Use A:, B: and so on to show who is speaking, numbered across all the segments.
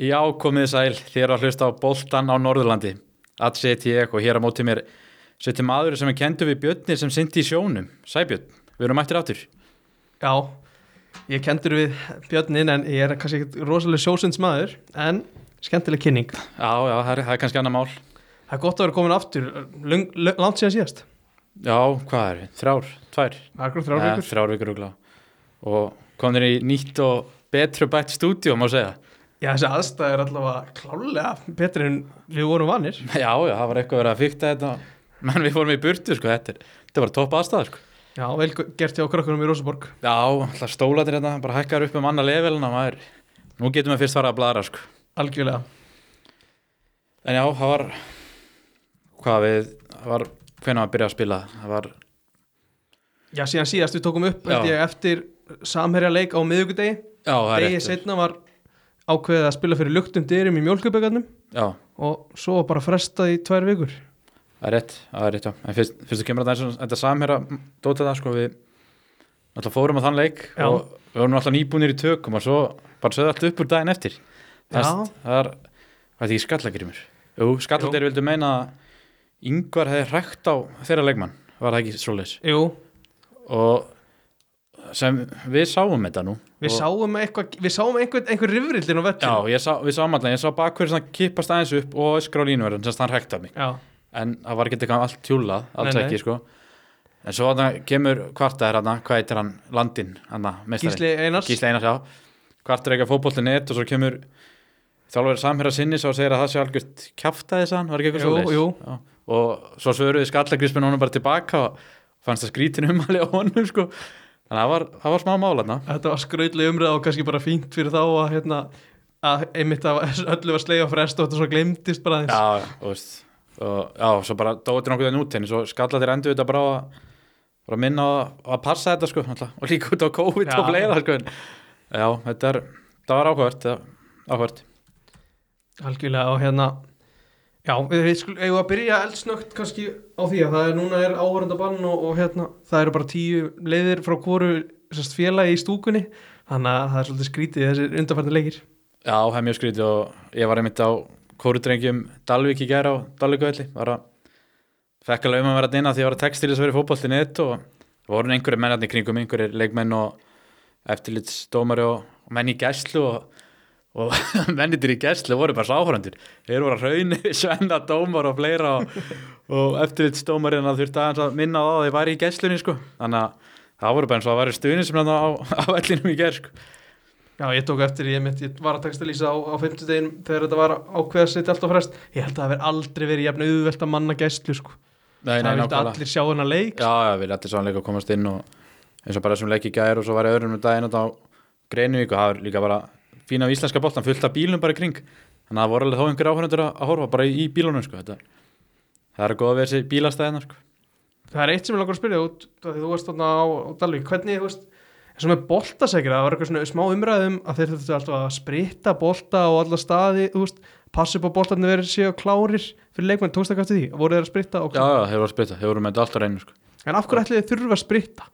A: Já, komið sæl, þér eru að hlusta á Boltan á Norðurlandi. Allt seti ég og hér á móti mér seti maður sem er kendur við Björni sem syndi í sjónum. Sæbjörn, við erum mættir aftur.
B: Já, ég kendur við Björnin en ég er kannski ekkert rosalega sjósunds maður en skemmtileg kynning.
A: Já, já, það er, það er kannski annar mál.
B: Það er gott að vera komin aftur, lung, lung, langt síðan síðast.
A: Já, hvað er við? Þrjár, tvær?
B: Akkur þrjár
A: Eh,
B: vikur.
A: Þrjár vikur og glá. Og komin í nýtt og betru bætt stúdíu, má segja.
B: Já, þessi aðstæð er allavega klálega betri en við vorum vanir.
A: Já, já, það var eitthvað verið að fykta þetta. Menn við fórum í burtu, sko, þetta er, þetta var topp aðstæða, sko.
B: Já, vel gert hjá krökkunum í Rósaborg.
A: Já, alltaf stólatir þetta, bara hækkar upp um annað levelina, maður. Nú getum við fyrst fara að blara, sko.
B: Algjörlega.
A: En já, það var hvað við, það var hvenær að byrja að spila, það var
B: Já, síðan síðast við tókum upp
A: Já.
B: held ég, eftir samherja leik á miðugudegi.
A: já, það er
B: Degi
A: rétt.
B: setna var ákveðið að spila fyrir luktum dyrum í mjólkuböggarnum
A: já,
B: og svo var bara frestað í tvær vikur.
A: það er rétt, það er rétt já. en fyrst, fyrst þú kemur að það þetta samherra dótið það sko við alltaf fórum að þann leik
B: Já.
A: og við vorum alltaf nýbúnir í tökum og svo bara sögðu allt upp úr daginn eftir það,
B: Já.
A: það er, það er ekki skallagrimur Jú, skallagrimur vildu meina að yngvar hefði hrækt á þeirra leikmann, var það ekki svoleiðis
B: Jú,
A: og sem við sáum þetta nú
B: Við
A: og,
B: sáum eitthvað, við sáum einhver, einhver rifrillin
A: Já,
B: á vellinu.
A: ég sá, við sáum allan, ég sá bakverðin svona kippast aðeins upp og öskra á línuverðin, semst hann hrektaði mig
B: Já.
A: en það var ekki eitthvað allt tjúlað, alls
B: Nei, nei.
A: ekki sko en svo þarna kemur kvartaðir hann, hvað heitir hann, Landin hann, meistari,
B: Gísli Einars.
A: Gísli Einars já, kvartar ekki að fótbolti net og svo kemur þjálfur samherra sinni svo segir að það sé algjört kjaftaði sann, var ekki eitthvað
B: Jú,
A: svoleiðis?
B: jú.
A: Já, og svo svöruði skallagrispin honum bara tilbaka og fannst það skrítin umhali á honum sko, þannig að það var, það var smá mála
B: Þetta var skrautlega umræða og kannski bara fínt fyrir þá að, hérna, að einmitt að öllu var slegja á frest og þetta svo glemdist bara aðeins.
A: já, og, veist, og, já, svo bara dóttir nokkuð en út henni, svo skalla þér endur þetta bara á að bara minna á að- að passa þetta sko, alltaf, og líka út á COVID
B: Já.
A: og fleira sko. en- já, þetta er, það var áhvert áhvert,
B: Algjörlega og hérna, já, við, við skulum, eigum að byrja eldsnögt kannski á því að það er núna er áhörandabann og, og hérna, það eru bara tíu leiðir frá hvoru sérst, félagi í stúkunni, þannig að það er svolítið skrítið þessir undanfærni leikir.
A: já, það er mjög skrítið og ég var einmitt á kórudrengjum Dalvík í gæra á Dalvíkvelli var að fekk alveg um að vera að dina því ég var að textil þess að vera fótboltin eitt og voru einhverju mennarnir kringum einhverjir leikmenn og eftirlitsdómari og og menn í gæslu og, og mennitir í gæslu voru bara sáhórandur þeir voru að raun svenna dómar og fleira og, og eftirlitsdómarinn að þurfti aðeins að minna á það að þeir væri í gæslunni sko. þannig að það voru bara eins og það væri stuðin sem hann á, á vellinum í gær sko.
B: Já, ég tók eftir, ég, mitt, ég var að takast að lýsa á, á fimmtudegin þegar þetta var ákveða að setja alltaf frest ég held að það verði aldrei verið jafn auðvelt að manna gæstlu sko.
A: nei,
B: það vildi allir sjá hennar leik
A: Já, já, við lettum sannleika að komast inn og eins og bara þessum leik í gæðir og svo var ég öðrum um daginn og þá Greinvík og það var líka bara fína af íslenska boltan, fullt af bílum bara í kring þannig að það voru alveg þá einhver áhörnendur að að horfa bara í, í bílunum sko, þetta það er góð að vera sér bílastæðina sko.
B: það er eitt sem ég langar að spyrja út af því þú varst þarna á, á Dalvík hvernig, þú veist, eins og með boltasekra það var eitthvað svona smá umræðum að þeir þurftu alltaf að spritta bolta á alla staði þú veist, passa upp á boltarnir verið séu klárir fyrir leikmenn, tókst ekki eftir því voru þeir að spritta og...
A: Já, já, þeir voru að spytta, þeir voru með þetta allt á reynu sko.
B: en af hverju ætli þeir þurfa að spritta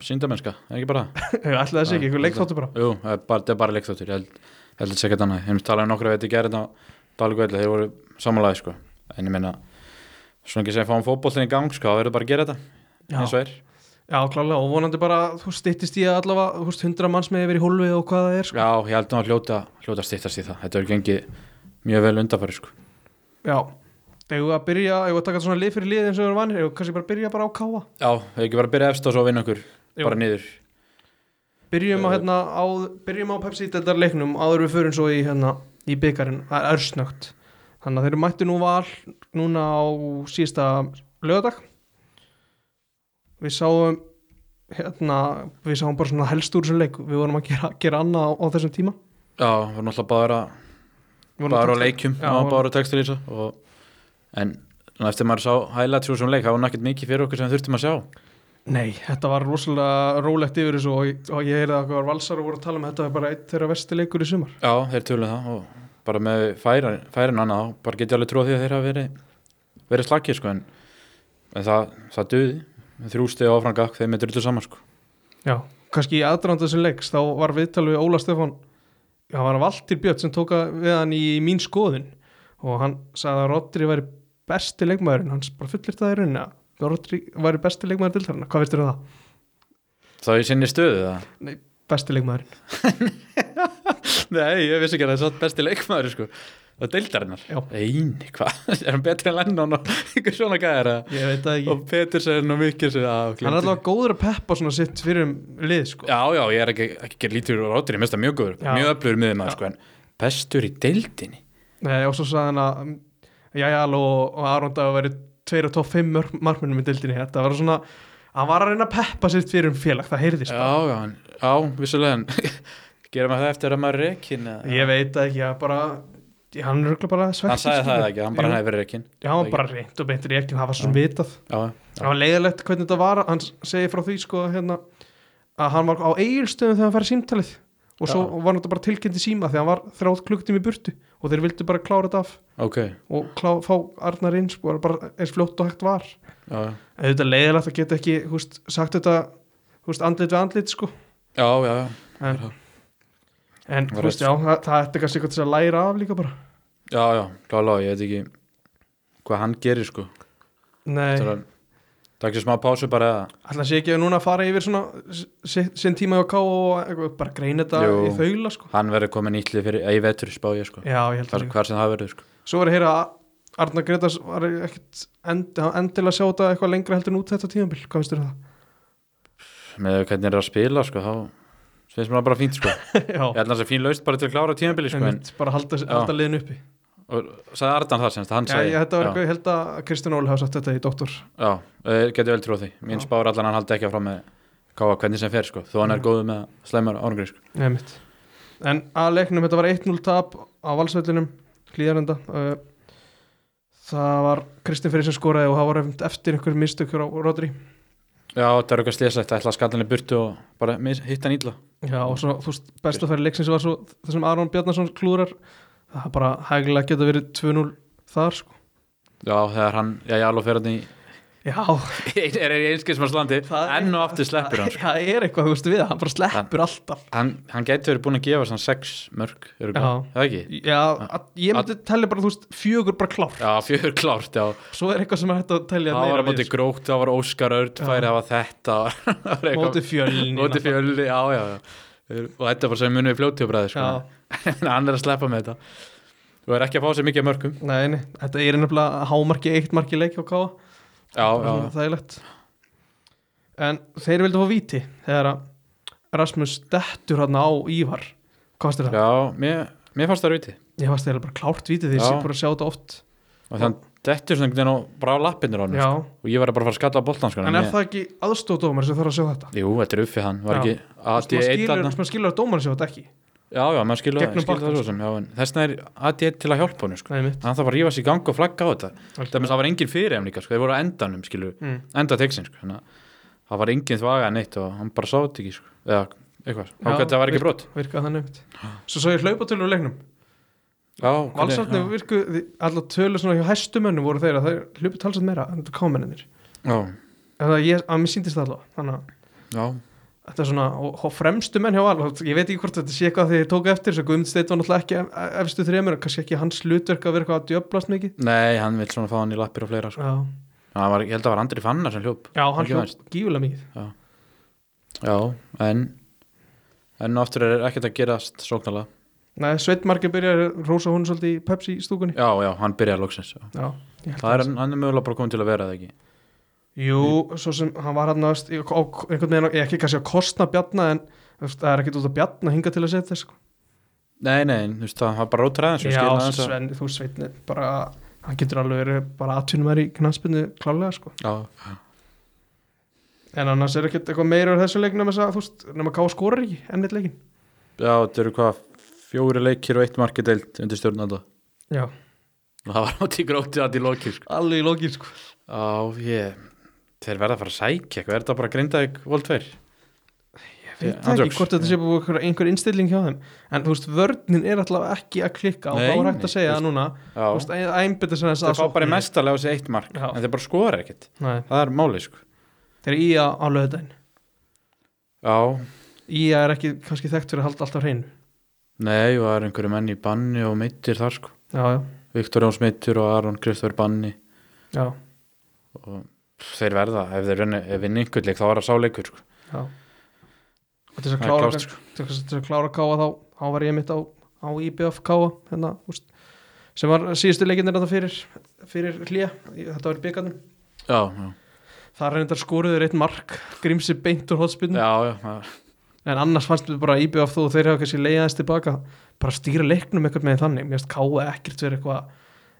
A: síndamennska, er ekki bara það?
B: ætli það sé ekki, eitthvað leikþáttu bara
A: Jú, það er bara, það er bara leikþáttur, ég held, ég held að segja þetta annað ég talaði um nokkra veit í gæðir þetta Dalgvelli, þeir voru samanlega sko. en ég meina, svona ekki sem fáum fótboltin í gang sko, þá verður bara að gera þetta,
B: Já.
A: eins og er
B: Já, klálega, og vonandi bara, þú styttist í að allavega, þú veist, hundra manns með yfir í hólfið og hvað það er, sko.
A: Já, ég held að hljóta, hljóta stýttast í það. Þetta er gengið mjög vel undarfæri, sko.
B: Já. Þegar við að byrja, ef við að taka svona lið fyrir lið eins og við erum vanir, ef við kannski bara byrja bara á káa.
A: Já, hefur ekki bara að byrja efst og svo vinna okkur,
B: Jú.
A: bara niður.
B: Byrjum á, hérna, á, byrjum á Pepsi-deltar leiknum, áður við förum svo í, hérna, í byggarinn, það er örsnögt. Þannig að þeir eru mættu nú val núna á síðasta lögadag. Við sáum, hérna, við sáum bara svona helst úr þessum leik, við vorum að gera, gera annað á, á þessum tíma.
A: Já, við vorum alltaf bara,
B: Við vorum að
A: bara á
B: taka-
A: leikjum,
B: Já,
A: já,
B: vorum-
A: bara á textilísa. Og, en svona eftir maður sá highlights úr svona leik, það var nakkert mikið fyrir okkur sem við þurftum að sjá.
B: Nei, þetta var rosalega rólegt yfir þessu og, og ég heyrði að okkur valsar og voru að tala um að þetta var bara eitt þeirra vesti leikur í sumar.
A: Já, þeir tölum það og bara með færin, færin og annað, þá bara get ég alveg trúið því að þeir hafa verið, verið slakið, sko. En, en það, það duði, þrjústið áfrangak, þeir með drullu saman, sko.
B: Já. Kanski í aðdranda þessu leiks þá var viðtal við Óla Stefán það var Valtir Björn sem tóka við hann í mín skoðun og hann sagði að Rodri væri besti leikmaðurinn, hans bara fullir það í rauninni að Rodri væri besti leikmaður til þarna, hvað veistur það?
A: Þá ég sinni stöðu það
B: Nei, besti leikmaðurinn,
A: Nei, ég vissi ekki að það er satt besti leikmaður sko. og deildarinnar
B: Já.
A: Eini, hvað, er hann betri en Lennon og einhver svona gæðar
B: ég veit það ekki
A: og Petersen og Mikkelsen á,
B: hann er alltaf góður að peppa svona sitt fyrir um lið sko,
A: Já, já, ég er ekki, ekki gera lítur úr Rodri, mér finnst það mjög góður,
B: Já.
A: mjög öflugur miður maður sko, en bestur í deildinni
B: Nei, og svo sagði hann að Jæjal og, og Aronda að væri tveir og topp fimm mörk- markmönnum í dildinni þetta var svona, hann var að reyna að peppa sitt fyrir um félag, það heyrðist
A: Já, já, en, já, vissulega en gera maður það eftir að maður er rekin eða-
B: Ég veit það ekki, að bara hann er örugglega bara svegt
A: Hann sagði það ekki, hann bara
B: Jú.
A: hefði verið rekin
B: Já, hann bara reynd og beintir í ekki, það var svona vitað
A: Já, já,
B: Það var leiðilegt hvernig þetta var, hann segi frá því sko hérna að hann var á eigilstöðum þegar hann færi símtalið og svo var hann bara tilkynnt í síma þegar hann var þrjátt klukktum í burtu og þeir vildu bara klára þetta af
A: ok,
B: og klá, fá Arnar eins og bara eins fljótt og hægt var
A: já, já
B: En Þetta er leiðilegt að geta ekki húst, sagt þetta húst, andlit við andlit sko
A: Já, já, já,
B: en, en
A: Var
B: húst, já, það, það ætti kannski eitthvað til að læra af líka bara
A: já, já, klálega, ég veit ekki hvað hann gerir sko
B: Nei,
A: Þetta er að Takk sér smá pásu bara eða?
B: Ætla sé ekki að núna fara yfir svona si- sinn tíma hjá K.O. og eitthvað, bara greina þetta
A: Jú.
B: í þaula sko.
A: Hann verður komin ítlið fyrir Ei vetur spá ég sko
B: Já, ég held
A: Hvar,
B: að
A: hvar sem það verður sko
B: Svo var ég að heyra að Arnar Gretars var ekkit end, hann endilega að sjá þetta eitthvað lengra heldur en út þetta tímabil, hvað finnst þér um
A: Með hvernig er að spila sko Þá finnst mér það bara fínt sko Ég
B: það? já,
A: held að það sé fín laust bara til að klára tímabili sko en,
B: einmitt, bara halda,
A: Já.
B: halda liðin uppi já,
A: og, Sagði Ardan það semst, hann
B: ég,
A: sagði
B: þetta var eitthvað, ég held að Kristján Óli hafa sagt þetta í Doktor
A: Já, uh, getur vel trúið því Mín
B: Já.
A: spár allan hann haldi ekki að frá með Káa hvernig sem fer sko, þó hann er
B: Mm.
A: góður með slæmar árangri sko.
B: Nefnitt. en að leiknum, þetta var 1-0 tap á valsvellinum, hlýðarenda uh, það var Kristján Fyrir sem skoraði og það var eftir einhver mistökjur á Rodri
A: Já, það er eitthvað slésætt, ætla að skalla henni burtu og bara mis- hitta hann illa
B: Já og svo þú veist besta færi leiksins var svo það sem Aron Bjarnason klúrar það er bara hægilega geta verið 2-0 þar sko
A: Já, þegar hann, já, ég alveg fer hann í
B: Já,
A: er í einskilsmannslandi
B: Það er-
A: enn og aftur sleppur hann sko.
B: það er eitthvað þú veist við, hann bara sleppur alltaf
A: Hann, hann getur verið búin að gefa svona sex mörg, eru
B: Já.
A: það ekki?
B: Já, að, ég myndi telli bara þú veist fjögur bara klár,
A: Já, fjögur klárt, já
B: svo er eitthvað sem er hægt að telja
A: Það var að
B: við,
A: móti
B: sko.
A: grótt, það var Óskar Örd
B: Já.
A: færi að hafa þetta það var eitthvað-
B: móti fjölni
A: móti fjölni, já, já, já og þetta er bara sem munum við fljótjóbræði sko.
B: Já,
A: en hann er að sleppa með þetta og er ekki að fá sér mikið af mörgum
B: nei, nei, þetta er nefnilega hámarki eitt marki leik á káa
A: já, já,
B: Svona þægilegt en þeir vildu fá víti þegar að Rasmus dettur hann á Ívar hvað varst þér um það?
A: já mér, mér fannst það rauti
B: Ég varst eiginlega bara klárt vítið því
A: Já.
B: ég sé bara að sjá þetta oft
A: og þann dettur svona einhvern veginn og brá lappinir á hann
B: Já,
A: og ég var bara að fara að skalla á boltan sko,
B: en er
A: ég-
B: það ekki aðstóðdómar sem þarf að sjá þetta?
A: Jú, þetta er uppið hann, var
B: Já.
A: ekki
B: Maður
A: AD1
B: skilur,
A: þarna
B: maður skilur að dómar sjá þetta ekki
A: Já, já, maður skilur
B: Gegnum sko.
A: skilur það
B: bakkann,
A: svo sem já, en Þessna er AD1 til að hjálpa hann sko.
B: Nei, mitt
A: Hann þarf bara að rífa sér í gang og flagga á þetta
B: Algjörlega.
A: Dæmis, Það var engin fyrir þeim líka, sko. þeir voru á endanum skilur,
B: mm.
A: enda tegsin sko. Þannig að Það var engin þvaga neitt og hann bara sá þetta ekki sko. eða eitthvað,
B: Já,
A: ákveð það var ekki
B: virk-
A: brot
B: Virkaði þannig mitt Svo svo ég hlaupa tölur leiknum
A: Já, Ah.
B: Valsarni
A: hvernig-
B: virku, allar tölur svona hjá hæstumönnum voru þeir að þeir hlupu talsvægt meira en þetta kámennir
A: já,
B: Það að ég, að mér síndist það allavega Þannig að
A: já,
B: þetta er svona, og, og fremstu menn hjá Val og ég veit ekki hvort þetta sé eitthvað þegar ég tók eftir svo Guðmundsdeit var náttúrulega ekki ef- efstu þremur og kannski ekki hans hlutverk að vera eitthvað að djöblast mikið
A: Nei, hann vil svona fá hann í lappir og fleira sko.
B: Já,
A: Já, hann var, ég held að það var Andri Fannar sem hljóp
B: Já hann
A: Ekki
B: hljóð gífulega mikið
A: Já, en en aftur er ekkert að gerast sóknarlega
B: Nei, Sveit Margeir byrjar að rósa hún svolítið í Pepsi stúkunni
A: Já, já, hann byrjar loksins já.
B: Já, ég held
A: Það er,
B: að-
A: hann er mögulega bara komin til að vera það ekki
B: Jú, svo sem hann var hann aðast einhvern veginn, á- ekki kannski að kostna bjarna en þú veist, það er ekkert út að bjarna hinga til að setja sko.
A: Nei, nei, þú veist, það var bara sko, ótræðan
B: Já, Sven, þú veist, Sveitni bara, hann getur alveg verið bara aðtunum í knaspinu klálega sko.
A: Já,
B: en annars er ekkert eitthvað meira úr þessu leiknum þess að þú veist, nema ká skorar ekki enn eitt leikin
A: já, þetta eru hvað fjóri leikir og eitt markið deilt undir stjórnanda
B: Já,
A: og það var átt í grótið að í lokið sko.
B: alveg í lókin sko.
A: Já, ég Þeir verða að fara að sækja eitthvað, er þetta bara grindaðið vol 2?
B: Ég veit
A: Ég-
B: ekki
A: andjóks.
B: hvort þetta sé búið einhver, einhver innstilling hjá þeim en þú veist, vörnin er alltaf ekki að klikka og
A: Nei,
B: þá er hægt
A: nei,
B: að segja það núna
A: Já,
B: Þú veist, að einbytta sem þess
A: þeir fá
B: sókn-
A: bara í mestalega þessi eitt mark
B: Já.
A: en þeir bara skora ekkert,
B: Nei,
A: það er máli sko.
B: þeir eru ía á löðdæn
A: Já,
B: Ía er ekki kannski þekkt fyrir að halda alltaf hreinu
A: Nei, og það er einhverju menn í banni og meittir þar sko
B: já, já,
A: Viktor Jóns meittur og Aron Kristofur banni
B: já,
A: og þeir verða, ef þeir vinni, ef vinni einhvern leik þá er það sáleikur sko.
B: já. og til þess
A: Það
B: að
A: er
B: klára
A: klárt, sko.
B: kannski- til þess til þess að klára káa þá þá var ég mitt á, á E IBF káa hérna, úst, sem var síðustu leikinir þetta fyrir, fyrir hlýja þetta var í byggarnum
A: Já, já,
B: þar reyndar skoruður eitt mark grímsi beint úr hotspilnum
A: já, já það-
B: en annars fannst mér bara IBF þó þeir hafa kannski leiðast tilbaka bara stýra leiknum eitthvað með þannig mér finnst káa ekkert verið eitthvað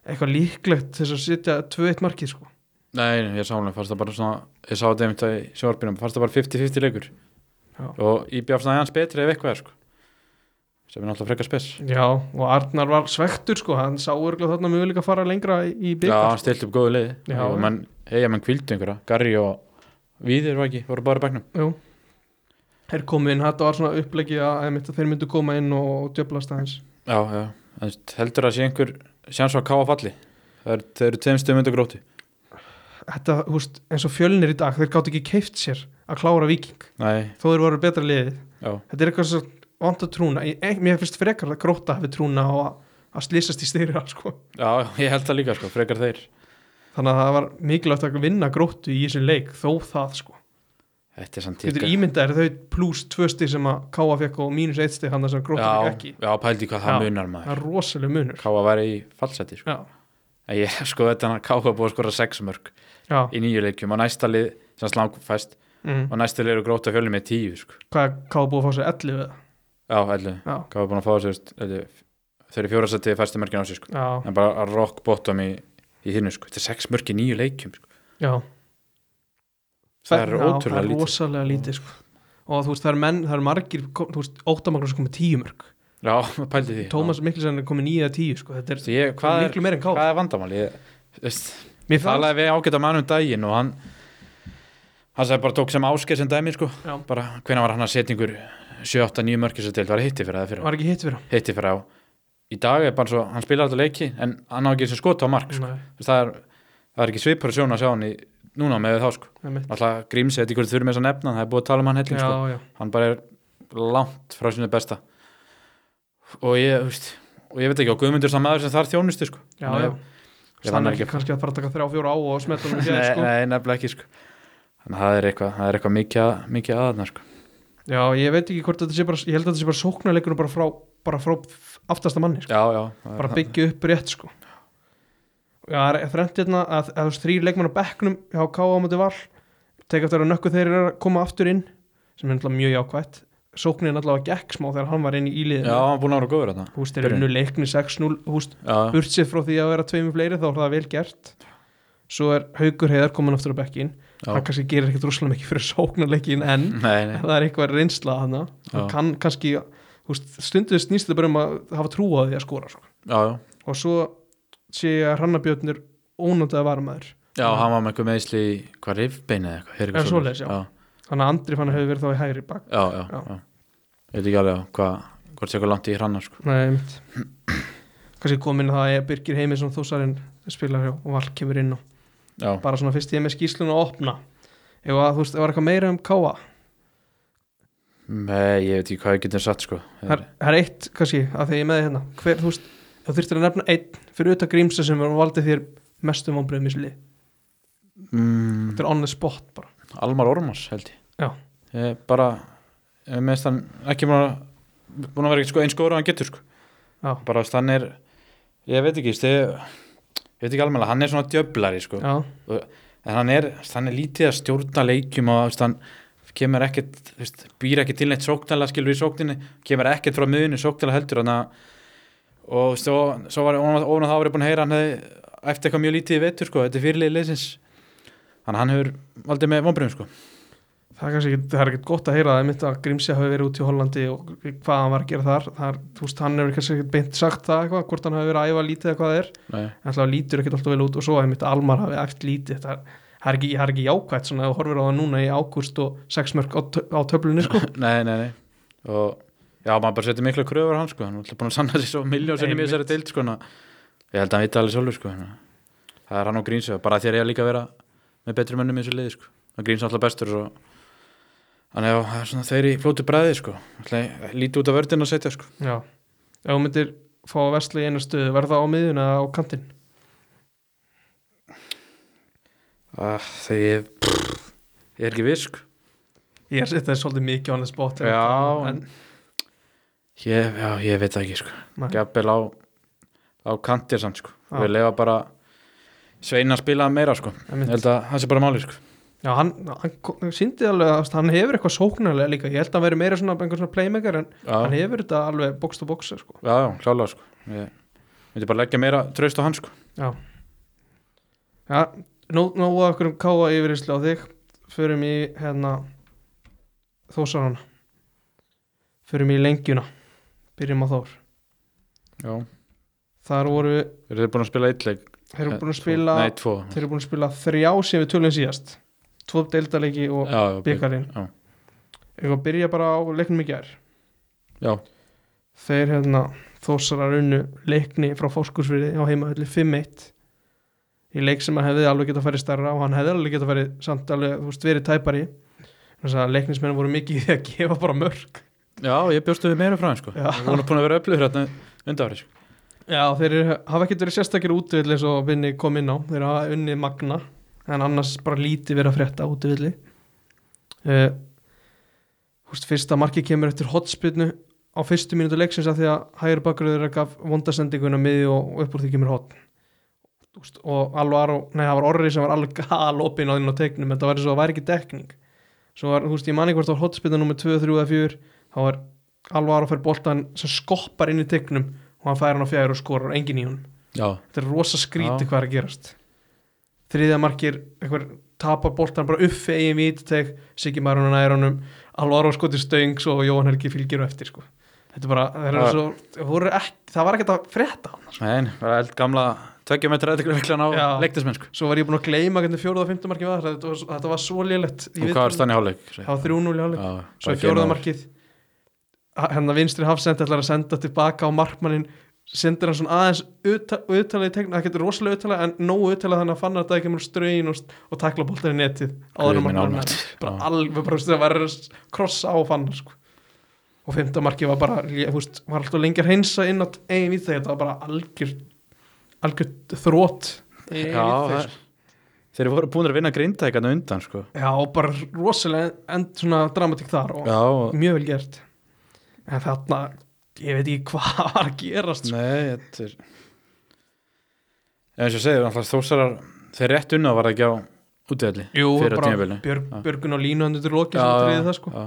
B: eitthvað líklegt til þess að sitja 2-1 markið sko
A: Nei, nei, ég sálega fannst það bara svona ég sá þetta einmitt í sjónvarpinum fannst það bara 50-50 leikur
B: Já.
A: og IBF snæði hans betri ef eitthvað er sko sem er náttúrulega frekar spes
B: já og Arnar var svektur sko hann sá örgulega þarna möguleika að fara lengra í- í
A: Já,
B: byggar
A: hann stilt upp góðu leiði
B: Já,
A: og
B: já.
A: menn, hei, menn kvildu einhverja Garri og Víðir var ekki, voru bara í bæknum
B: já þeir komu inn þetta var svona upplegið að einmitt, að þeir myndu koma inn og djöblast aðeins
A: Já, já, en heldur að sé einhver sjans á að káa falli það eru, það eru tveim stöðum undir gróti
B: þetta húst eins og fjölnir í dag þeir gátt ekki keift sér að klára viking
A: Nei,
B: þó þeir voru betra liðið
A: já,
B: þetta er eitthvað svo vant að trúna Ég- ein- mér finnst frekar að gróta hafi trúna á að, að slýsast í styrir sko.
A: já, ég held það líka sko, frekar þeir
B: þannig að það var mikilvægt að vinna gróttu í þessum leik þó það sko
A: Þetta er samt
B: getur ímyndaðir þau pluss tvö stig sem að Káa fekk og mínus eitt stig hann þess að gróta fekk
A: já,
B: ekki
A: já, pældi hvað það
B: Já.
A: munar
B: það
A: maður
B: er rosalega munur
A: Káa væri í fallseti sko.
B: já,
A: En ég, sko þetta hann að Káa búið að skora sex mörg
B: já,
A: í nýju leikjum og næsta lið sem slangfæst
B: mm.
A: og næsta lið eru gróta fjölum með tíu sko.
B: hvað er Káa búið að fá sér 11 við
A: Já, ellu,
B: Já.
A: Káa búin að fá þessu þeir eru fjórasætti fæstu mörgin á sig sko.
B: já,
A: en bara að rock bottom í, í hinu sko. þetta er sex mörg í nýju leikjum sko.
B: já
A: það er
B: Já, það
A: ótrúlega
B: er
A: lítið
B: rosalega lítið sko. og þú veist það er menn, það er margir kom- þú veist, óttamagnus komið tíumörk
A: Já, pældi því
B: Tómas Mikkelsen er komið nýja tíu sko. þetta
A: Þú
B: er
A: veist, ég, hvað, er,
B: miklu meira en Káa
A: hvað er vandamál? Ég, þú veist,
B: Mér fannst,
A: talaði við ágæta mann um daginn og hann hann sagði bara tók sem áskeið sem dæmi sko.
B: Já.
A: bara hvenær var hann að setja yngur 7-8-9 mörkis að til, var hitti fyrir það fyrir
B: var ekki hitt fyrir hann
A: hitti fyrir á í dag er bara svo, hann spilar alltaf leiki en hann á ekki sem skot á mark sko.
B: Nei,
A: Þú veist, það, er, það er ekki svipur að sjóna að sjá hann í, núna með þá sko
B: einmitt.
A: alltaf grímsi, þetta er hverju þurfum þess að nefna það er búið að tala um hann helling sko
B: Já, já,
A: hann bara er langt frá sinu besta og ég, þú veist og ég veit ekki, og Guðmundur sem maður sem þar þjónustu sko.
B: já,
A: Nei,
B: já.
A: ég
B: Þannig
A: fann
B: ekki
A: ekki-
B: kannski að fara að taka þrjá fjóra á og smetta hann um
A: nei,
B: hér sko.
A: nei, nefnilega ekki sko. þannig að það er eitthvað, það er eitthvað mikið, að- mikið aðna sko.
B: Já, ég veit ekki hvort þetta sé bara, ég held að þetta sé bara sóknarleikunum bara frá, bara frá aftasta manni, sko.
A: já, já, það er-
B: bara byggja upp rétt, sko. Já, það er þrengt hérna að, að þú veist þrýr leikmenn á bekknum hjá K.A. á móti val, tek eftir að nökku þeir eru að koma aftur inn, sem er náttúrulega mjög jákvætt. Sóknin allavega gekk smá þegar hann var inn í íliðinu.
A: já, hann er búin að vera góður þarna
B: Húst, þeir eru
A: Byrjun.
B: nú leikni 6-0, húst,
A: já,
B: burt sér frá því að vera tveimur fleiri þá er það vel gert svo er Haugur Heiðar komin aftur á bekkin
A: Já.
B: hann kannski gerir ekkert rosalega mikið fyrir sóknarleikin en
A: nei, nei,
B: það er eitthvað reynsla hann
A: Mm. Já.
B: hann kann kannski húst, stundu snýst það bara um að hafa trú á því að skora sko.
A: já, já
B: og svo sé ég að Hrannabjörnir ónöndaði varmaður
A: Já, hann var með eitthvað meðsli í hvað rifbein eða eitthvað, er
B: Já,
A: eitthvað
B: svoleiðis, já. þannig að Andri fann að hefur verið þá í hægri bak
A: Já, já,
B: Já.
A: já, Ég veit ekki alveg hvað, hvort sé eitthvað langt í hranna sko.
B: Nei, einmitt. kannski komin að það er Birgir Heimisson þósarinn spilar hjá og Val kemur inn og
A: Já,
B: bara svona fyrst ég er með skýslun að opna ef að þú veist, ef var eitthvað meira um Káa
A: nei, ég veit ekki hvað ég getum satt sko.
B: það er- það er eitt, kannski, að því ég er með þig hérna hver, þú veist, þú þurftir að nefna einn fyrir auðvitað grímsa sem var valdið þér mestum vonbröðum í slið,
A: mm,
B: þetta er on the spot bara
A: Almar Ormars held ég
B: Já.
A: ég bara ég meðist hann ekki búin að búin að vera ekkert sko eins góður og hann getur sko.
B: Já.
A: bara þess hann er ég veit ekki stið, ég veit ekki alveg hann er svona djöblari sko.
B: já,
A: en hann er, þú veist, hann er lítið að stjórna leikjum og þú veist, hann kemur ekkert þú veist, býr ekki til neitt sóknala skilur í sókninni, kemur ekkert frá miðunni sóknala heldur hann að og þú veist, og svo var ofan ofan á það var ég búin að heyra hann hefði eftir eitthvað mjög lítið í vetur sko, þetta er fyrirlið leysins þannig að hann hefur aldrei með vonbröðum sko.
B: það er kannski, ekki- það er ekkert gott að heyra það einmitt að grímsa hafi verið út í Hollandi og hvað hann var að gera þar, það er, þú veist, hann hefur kannski ekkert beint sagt það eitthvað, hvort hann hafi verið að æfa lítið eða hvað það er,
A: Nei.
B: en alltaf lítur ekkert alltaf vel út og svo einmitt Almar hafi æft lítið, það er, það er ekki, það er ekki jákvætt svona, ef þú horfir á það núna í ágúst og sex mörg á, tö- á töflunni sko.
A: nei, nei, nei og já, maður bara setur mikla kröfur á hann sko, hann er alltaf búin að sanna sér svo miljón sinni
B: Einmitt.
A: með þessari deild sko, þannig að ég held að hann vita alveg sjálfur sko, þannig að það er hann og Gríns bara þér ég líka að vera með betri mönnum í þessu liði sko, og Gríns er alltaf bestur og þannig að já, það er svona þeir í flótu bræði sko, alltaf lítið út af vördin að setja sko
B: Já, ef þú myndir fá að vesla í eina stöðu verða á miðjuna eða á kantinn
A: Ah, Þegar ég pff, Ég er ekki sko. visk
B: ég er þetta er svolítið mikið on the spot en-
A: Já,
B: en,
A: ég, Já, ég veit það ekki sko
B: Nei.
A: Gabel á, á kantir samt sko
B: Já.
A: Við lefa bara Sveina að spila meira sko
B: en,
A: Ég held að það sé bara máli sko
B: já, hann, hann, hann síndi alveg að hann hefur eitthvað sóknarlega líka ég held að hann veri meira svona, einhver svona playmaker en hann
A: Já, já,
B: hefur þetta alveg box to box sko.
A: já klálega sko Ég myndi bara leggja meira traust á hann sko
B: já, nú, nú að okkur um káa yfirinslu á þig förum í hérna þósarana förum í lengjuna byrjum á þór
A: Já,
B: þar voru,
A: eru þið búin að spila eitt leik?
B: þeir eru
A: Eh,
B: búin að
A: Tvo-
B: spila
A: Nei, tvo
B: þeir eru búin að spila þrjá sem við tölum síðast tvo deildalegi og
A: Já,
B: byggarinn
A: já.
B: eitthvað að byrja bara á leiknum í gær
A: Já.
B: þeir hérna þósarar unnu leikni frá fóskursfriði á heimahöllu 5-1 í leik sem að hefði alveg geta farið stærra og hann hefði alveg geta farið samt alveg, þú veist, verið tæpari þannig að leiknismenn voru mikið í því að gefa bara mörg
A: já ég bjóstu við meira frá hann sko
B: Já.
A: Ég voru búin að vera öflugur hérna undanfæri sko
B: já, þeir eru, hafa ekkert verið sérstakir útvill eins og vinni kom inn á, þeir hafa unni magna en annars bara lítið verið að frétta útvilli uh, húst, fyrsta markið kemur eftir hotspilnu á fyrstu mínútu leiksins að því að hægur bakgröður þeirra gaf vondasendinguna miði og upp úr því kemur hot Úst, og alveg aðra, nei það var orri sem var alveg galopin á þinn á teiknum en það var svo að væri ekki dekning svo var, þú veist, ég mani hvort það var hotspilna nummer 2, 3 eða 4 þá var alveg aðra fær boltan sem skoppar inn í teiknum og hann fær hann á fjær og skorar engin í hún
A: Já,
B: þetta er rosa
A: Já.
B: skríti hvað er að gerast þriðja markir einhver tapar boltan bara upp fyrir eigin vítuteg Siggi Marun og Nærunum Alvaro skoti stöngs og Jóhann Helgi fylgir á eftir sko. þetta er bara það,
A: Já.
B: er svo, það voru ekki, það var ekkert að frétta annars.
A: nein, bara eld gamla Tveggja metra eðliklan á
B: Já.
A: leiknismenn sko
B: svo var ég búin að gleyma hvernig fjóruða og fymta markið var þetta var, þetta var svo lélegt
A: Og hvað var stann í hálfleik?
B: það var 3-0 í hálfleik
A: Já,
B: svo
A: bara
B: er fjóruða
A: geima
B: markið Ha- hérna vinstri hafsend ætlar að senda tilbaka á markmannin sendir hann svona aðeins auðtalið í tegna, það getur rosalega auðtalið en nógu auðtalið þannig að fann að það kemur strögin og, og takla bóltar í netið áður en
A: Guð minn
B: markmann
A: almáttugur.
B: nær. bara alveg bara þú veist, það var að krossa á fann sko. og fymta markið var bara ég, húst, var alltaf lengi að hreinsa inn á eigin við þegar það var bara algjör algjör þrótt í eigin
A: Já,
B: vítateig,
A: það
B: sko.
A: er Þeir voru búin að vinna grindækana undan sko
B: já, og bara rosalega end svona dramatík þar og
A: Já, og-
B: mjög vel gert en þarna, ég veit ekki hvað var að gerast sko.
A: nei, þetta er En eins og ég segi, alltaf þósarar Þeir rétt unna var það ekki á útvelli
B: Jú,
A: Fyrir
B: bara
A: tímabili.
B: björg,
A: Já.
B: Björgun og Línu hann undir loki sem triði það sko
A: Já,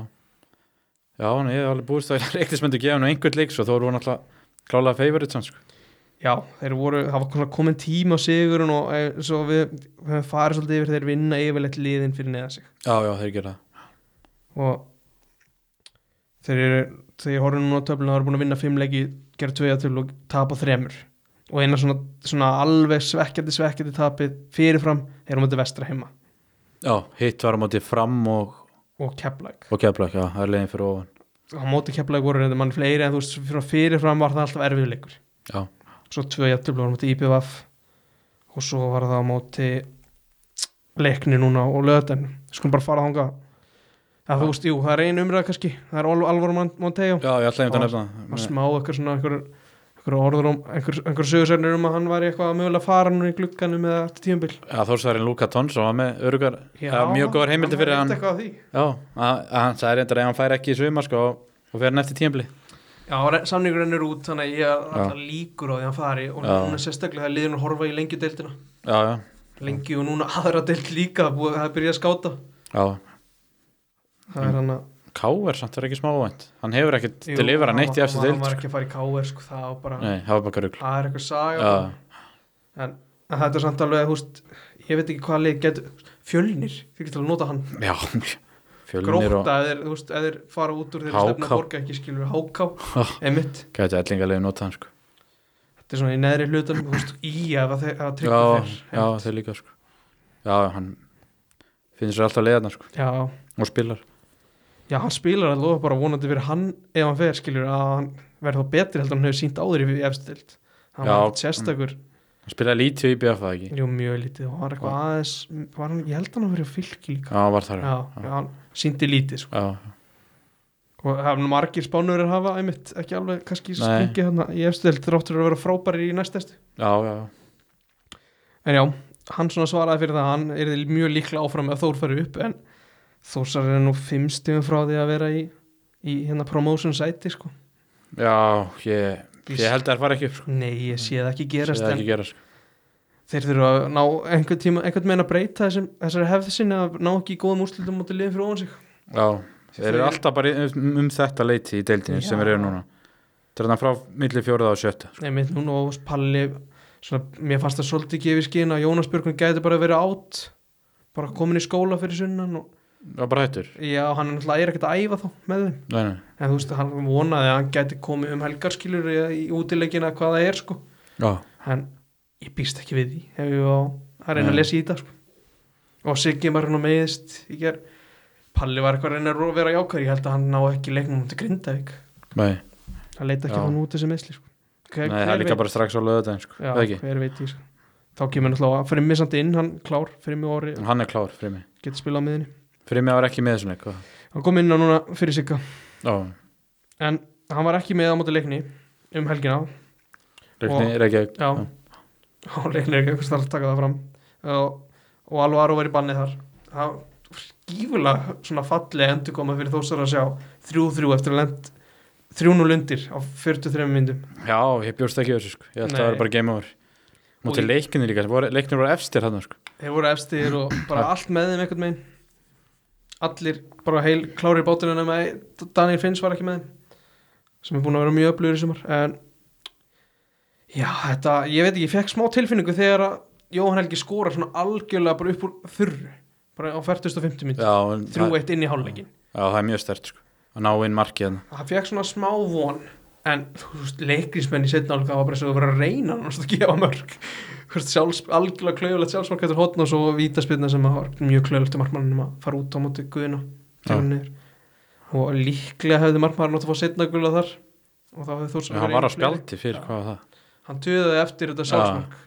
A: já nei, ég hef alveg búist að leiknismenn gefa hennu einhvern leik svo þó voru hann alltaf klálega favorite samt sko
B: Já, þeir voru, það var svona komin tíma á sigurinn og e, svo við við höfum farið svolítið yfir þeir vinna yfirleitt liðin fyrir neða sig
A: Já, já, þeir gera það
B: og þeir eru, þegar ég horfum núna á töfluna það eru búin að vinna fimm leiki, gera tvöja til og tapa þremur og eina svona, svona alveg svekkjandi svekkjandi tapið fyrirfram er um þetta vestra heima
A: Já, hitt var á móti fram og,
B: og keplæk
A: og keflag, já, það er leiðin fyrir ofan
B: á móti keflaði voru reynda mann fleiri en þú veist, fyrir fyrirfram var það alltaf erfiður leikur
A: Já,
B: svo tvö jættublur á móti IPVF og svo var það á móti leikni núna og löðan skulum bara fara þangað að þú veist, jú, það er einu umræða kannski það er Ol- Alvaro Mon- Monteo
A: já, ég ætlaði einmitt að nefna
B: að
A: það.
B: smá eitthvað svona einhver, einhver orður um, einhver, einhver sögursernir um að hann var eitthvað að mögulega fara núna í glugganum eða eftir tíumbil
A: Já, Þórsarinn Luka Tonsson var með örugar mjög góðar heimildi fyrir hann
B: Já,
A: Já, að- að hann sagði reyndar að ef hann fær ekki í sumar sko og- og fer hann eftir tímli
B: re- samningurinn er út þannig að ég er
A: Já.
B: alltaf líkur á því að hann fari og
A: Já.
B: núna sérstaklega það er liðin að horfa í lengjudeildina
A: Já, já,
B: lengi og núna aðra deild líka búið, það er byrjað að skáta
A: já
B: það
A: Mm.
B: er hann að
A: Ká er samt verið ekki smá óvænt Hann hefur ekkert
B: Jú,
A: til yfir
B: hann
A: hann eitt í
B: var-
A: eftir
B: hann var-
A: dild
B: hann var
A: sko.
B: ekki að fara í káver sko það var bara
A: Nei, það var bara rugl
B: það er eitthvað saga
A: Já,
B: en, en þetta er samt alveg húst ég veit ekki hvað leik getur fjölnir fyrir til að nota hann
A: já Fjölnir og
B: gróta eða þeir, þú veist, eða þeir fara út úr þeir
A: HK.
B: stefna að borga ekki skilur háká
A: Já.
B: emitt
A: Gæti ætlingalegi nota hann sko
B: þetta er svona í neðri hlutan húst í ef að þeir að
A: Já,
B: tryggja þeir
A: já, þeir líka sko Já, hann finnst sér alltaf leiðarnar sko
B: já
A: og spilar
B: já hann spilar alveg bara vonandi fyrir hann ef hann fer skilur að hann verður þá betri heldur en hann hefur sínt áður í efstild hann
A: Já. Mm.
B: var ekkert sérstakur
A: Hann spilaði lítið í BF það ekki
B: jú mjög lítið og hann var eitthvað aðeins var hann, ég held hann að vera fylg líka
A: Já, hann var þar
B: já, já, hann síndi lítið sko.
A: já,
B: og hafa margir spánurir hafa einmitt ekki alveg kannski
A: Nei.
B: skingi hérna í efstild þráttur að vera frábæri í næstestu
A: já, já, já,
B: en já, hann svona svaraði fyrir það að hann er mjög líklega áfram með Þór fari upp en Þórsar er nú fimm stíðum frá því að vera í, í hérna promotion sæti sko
A: já ég, ég held að það fara ekki upp sko.
B: Nei, ég sé það ekki
A: Sé
B: gerast
A: það
B: en
A: ekki gera, sko.
B: þeir þurfa að ná einhvern tíma, einhvern meina að breyta þessum, þessari hefði sinni að ná ekki í góðum úrslutum mútið liðin fyrir ofan sig
A: já, þeir eru alltaf bara í- um, um þetta leiti í deildinni sem
B: Já.
A: þeir eru núna þeir eru frá milli fjóruða og sjötta sko.
B: Nei, mitt núna og Palli svona, mér fannst það svolítið gefið skinn að Jónas Björgun gæti bara verið átt bara komin í skóla fyrir sunnan og
A: það er bara hættur
B: já, hann náttúrulega er ekkert að æfa þá með þeim
A: nei, nei.
B: en þú veist, hann vonaði að hann gæti komið um helgarskilur í, í útileikina hvað það er sko
A: Já.
B: en ég býst ekki við því ef ég var að reyna að
A: Nei.
B: lesa í þetta sko. og Siggi var nú meðist í ger Palli var eitthvað að reyna að ro- vera jákvæður ég held að hann ná ekki leiknum til Grindavík
A: Nei.
B: hann leita ekki
A: Já.
B: hann út þessi meðsli sko. hver,
A: Nei, það er líka
B: veit,
A: bara strax á löðudaginn sko.
B: já,
A: Það ekki.
B: hver veit ég sko. þá kemur náttúrulega frimmi samt inn hann klár, frimmi orri,
A: hann er klár, Frimi
B: getur spilað á miðinni
A: Frimi var ekki með þessum leik og-
B: hann kom inn á núna fyrir Sigga
A: Já,
B: en hann var ekki með á móti leikni um helgina
A: Reykjavík Reykjavík.
B: já,
A: Já.
B: og leiknir ekki eitthvað starf að taka það fram og, og Alvaro var í bannið þar það var skífulega svona fallega endur koma fyrir þósar að sjá 3-3 eftir að lend 3-0 undir á 43 myndum
A: Já, ég bjóst ekki við þessu sko. Ég held að það
B: Nei.
A: var bara game over Mútið
B: Og-
A: leikinu líka, voru- leiknir voru efstir hann sko.
B: þeir voru efstir og bara allt með þeim einhvern megin allir bara heil klári í bátinu nema einn- Daniel Finns var ekki með þeim sem er búin að vera mjög öflugur í sumar en já, þetta, ég veit ekki, ég fekk smá tilfinningu þegar að Jóhann Helgi skora svona algjörlega bara upp úr þurru bara á 40.50 minn
A: Já, en það,
B: 3-1 inn í hálfleikin
A: já, það er mjög stert sko. að ná inn markið hann
B: það fekk svona smá von en þú veist, leikrismenn í setna álga var bara svo að vera að reyna hann að gefa mörg Hvort sjálfs, algjörlega klaufulegt sjálfsmark eftir hotn og svo vítaspilna sem að var mjög klaufulegt til markmannum að fara út á móti guðina
A: Já.
B: og líklega hefði markmann átt að fá setna gula þar og þá hefði þú
A: Hann var á spjaldi fyrir, hvað var það?
B: hann töðaði eftir þetta sjálfsmark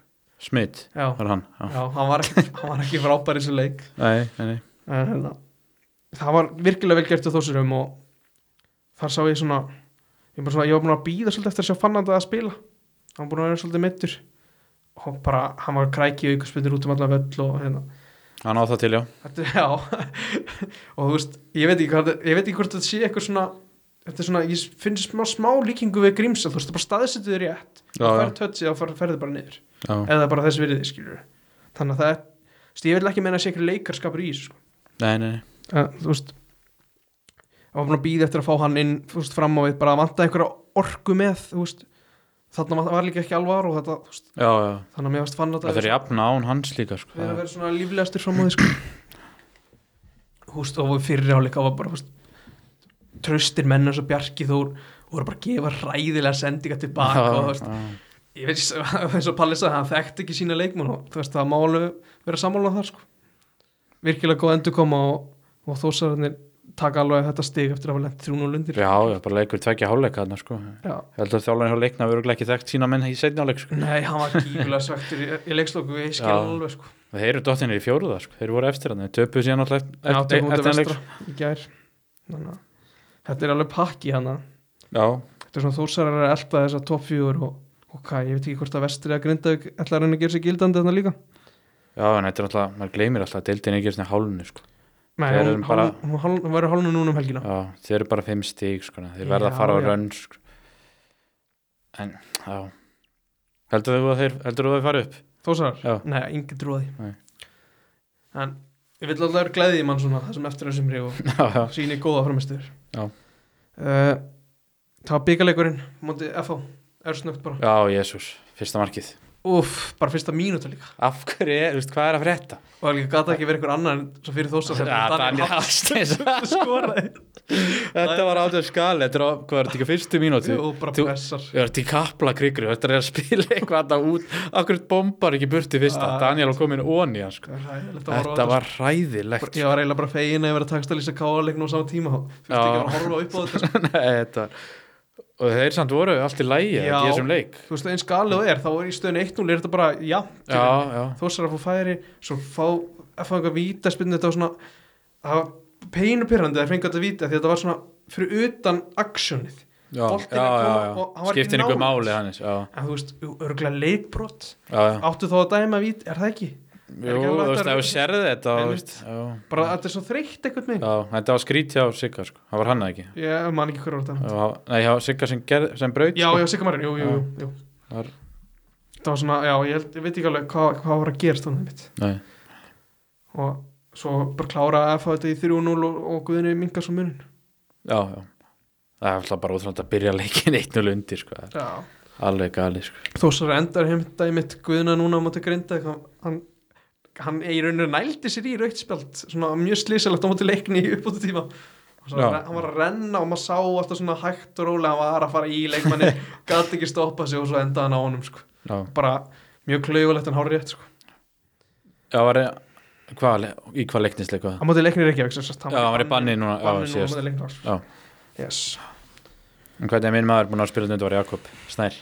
A: Smit,
B: já, já.
A: var hann Já,
B: hann var ekki, hann var ekki frábær í þessu leik
A: nei, nei, nei.
B: en hérna það var virkilega vel gert á þósurum og þar sá ég svona ég, bara svona, ég var búin að býða svolítið eftir að sjá fannanda að spila hann var búin að vera svolítið mittur og bara, hann var kræki og ykkur spyndir út um allan völl og hérna
A: hann á það til, já
B: þetta, já og þú veist, ég veit ekki, hvað, þetta- ég veit ekki hvort þetta sé eitthvað svona þetta er svona, ég finn smá, smá líkingu við grímsa, þú veist, það bara staðsettu þér rétt
A: Já,
B: og
A: já.
B: færð tötsi og ferði bara niður
A: já.
B: eða bara þess virðið, skilur þannig að það er, þú veist, ég vil ekki meina að sé eitthvað leikarskapur í þessu, sko
A: Nei, nei, nei,
B: að, þú veist að var búin að býða eftir að fá hann inn þú veist, fram á við, bara að vanta einhverja orku með þú veist, þarna var- var líka ekki alvar og þetta, þú veist,
A: já, já
B: þannig að mér varst fann að
A: Það er jafna án hans líka sko.
B: við að vera svona líflegastur fram á því sko. þú veist, og fyrir áleika var bara, þú veist tröstir menn eins og Bjarki Þór voru bara að gefa ræðilega sendinga tilbaka
A: Já,
B: og þú veist,
A: já.
B: ég veit eins og Palli sagði, hann þekkt ekki sína leikmenn og þú veist, það má alveg vera sammála þar sko. virkilega góð endur koma og, og þósararnir taka alveg þetta stig eftir að hafa lent 3-0 undir
A: já, já, bara leikur tvekja háleika hann sko. Ég
B: Já.
A: held að þjálfæðin hjá leikna við ekki þekkt sína menn í setni háleik sko.
B: nei, hann var gífulega svektur í, í leiksloku ég skil
A: Já.
B: alveg sko.
A: Þeir eru dottinir í fjóruða sko. Þeir voru eftir hann, þeir töpuðu síðan alltaf eftir,
B: já, tökum út
A: eftir
B: að
A: hann leik sko.
B: vestra í gær Þannig, að þetta er alveg pakki hann
A: Já,
B: þetta er svona þósarar að elda þessa topp fjúur og, og hvað, ég veit ekki hvort að vestri að grinda ætla að reyna að gera sér gildandi þarna líka
A: já, en þetta er alltaf, maður gleymir alltaf að deildin er ekki svona hálunni sko.
B: nei,
A: Þeir
B: hún,
A: eru bara-
B: hálf- hún, hálf- hún verður hálfnu núna um helgina
A: Já, þeir eru bara fimm stík sko. Þeir verða
B: Já,
A: að fara á
B: já.
A: rönn sko. En, já Heldur þú að þeir, heldur þú að þeir fara upp?
B: Þósarar?
A: Já.
B: Nei, yngi trúaði
A: Nei.
B: En ég vil alltaf vera gleðið í mann svona það sem eftir þessum ríf
A: Já, já,
B: og síni góða framistuður
A: Já.
B: uh, Það var byggaleikurinn móti FH, er snögt bara
A: já, jésús, fyrsta markið
B: Úff, bara fyrsta mínúta líka
A: Af hverju, er, þú veist, hvað er að frétta?
B: og það gata ekki verið einhver annar en svo fyrir Þósarar
A: Já, Daniel Hafsteins
B: skoraði
A: Þetta var átöð skali, þetta var, hvað er þetta ekki fyrstu mínúti?
B: og bara
A: Þú-
B: pressar
A: Þú ert í kapla krikri, þetta er að spila eitthvað þetta út Akkur bombar ekki burti fyrsta
B: Ah.
A: Daniel var komin ón í hann sko
B: Það var hræðilegt
A: Þetta var hræðilegt
B: að horfa á Ég var eiginlega bara fegin að ég verið að takst að lýsa káaleiknum á sama tíma Fyrst
A: Já.
B: ekki að vera að horfa upp á þetta sko.
A: Nei, þetta var Og þeir samt voru allt í lægi
B: Já.
A: í þessum leik
B: Þú veist, eins galið og er, þá er í stöðun 1-0 er þetta bara, já,
A: Já, já,
B: Þórsar að fá færi svo fá að fá einhver vítaspinnu þetta var svona það var peinupirrandi að fengi þetta víta því að þetta var svona fyrir utan aksjónið
A: já,
B: Boltinn
A: já,
B: að
A: já,
B: koma
A: já.
B: og hann var ekki
A: skiptir einhver
B: nálægt.
A: máli hannis já,
B: en þú veist, örgulega leikbrot
A: já, já.
B: áttu þá að dæma vít, er það ekki? ekki
A: Jú,
B: alveg
A: þú veist,
B: hægt að-
A: ef þú sérði þetta þú veist,
B: Einmitt.
A: já,
B: bara þetta er svo þreytt eitthvað minn
A: já, þetta var skrítið á Sigga sko. það var hann það ekki
B: ég man ekki hverju orða
A: Já, nei, já, Sigga sem, gerð, sem braut
B: já,
A: sko.
B: já, Sigga Marinn, jú, jú, jú, jú.
A: Það var-
B: það var svona, já, ég, held, ég veit ekki alveg hvað, hvað var að gerast þannig mitt
A: Nei.
B: og svo bara klára að fá þetta í 3-0 og, og guðinu minga svo munin
A: já, já. það er alltaf bara útrúnd að byrja leikin 1-0 undir sko. það
B: já.
A: er alveg gali sko.
B: Þósar endar heimta í mitt guðina núna á móti grinda hann, hann í rauninu nældi sér í rautspjald svona mjög slísalegt á móti leikni í uppbúti tíma
A: Já.
B: hann var að renna og maður sá alltaf svona hægt og rólega hann var að fara í leikmanni gæti ekki stoppa sig og svo endaði hann á honum sko.
A: já,
B: bara mjög klaugulegt en hárið rétt sko.
A: já, var hva, í hvað leiknisleik var það?
B: á móti leikni Reykjavík sem sagt,
A: já, hann var í banni núna, já,
B: banni núna á
A: síðast.
B: móti leikni sko.
A: Já.
B: yes.
A: En hvernig er minn maður búin að spila þetta var Jakob Snær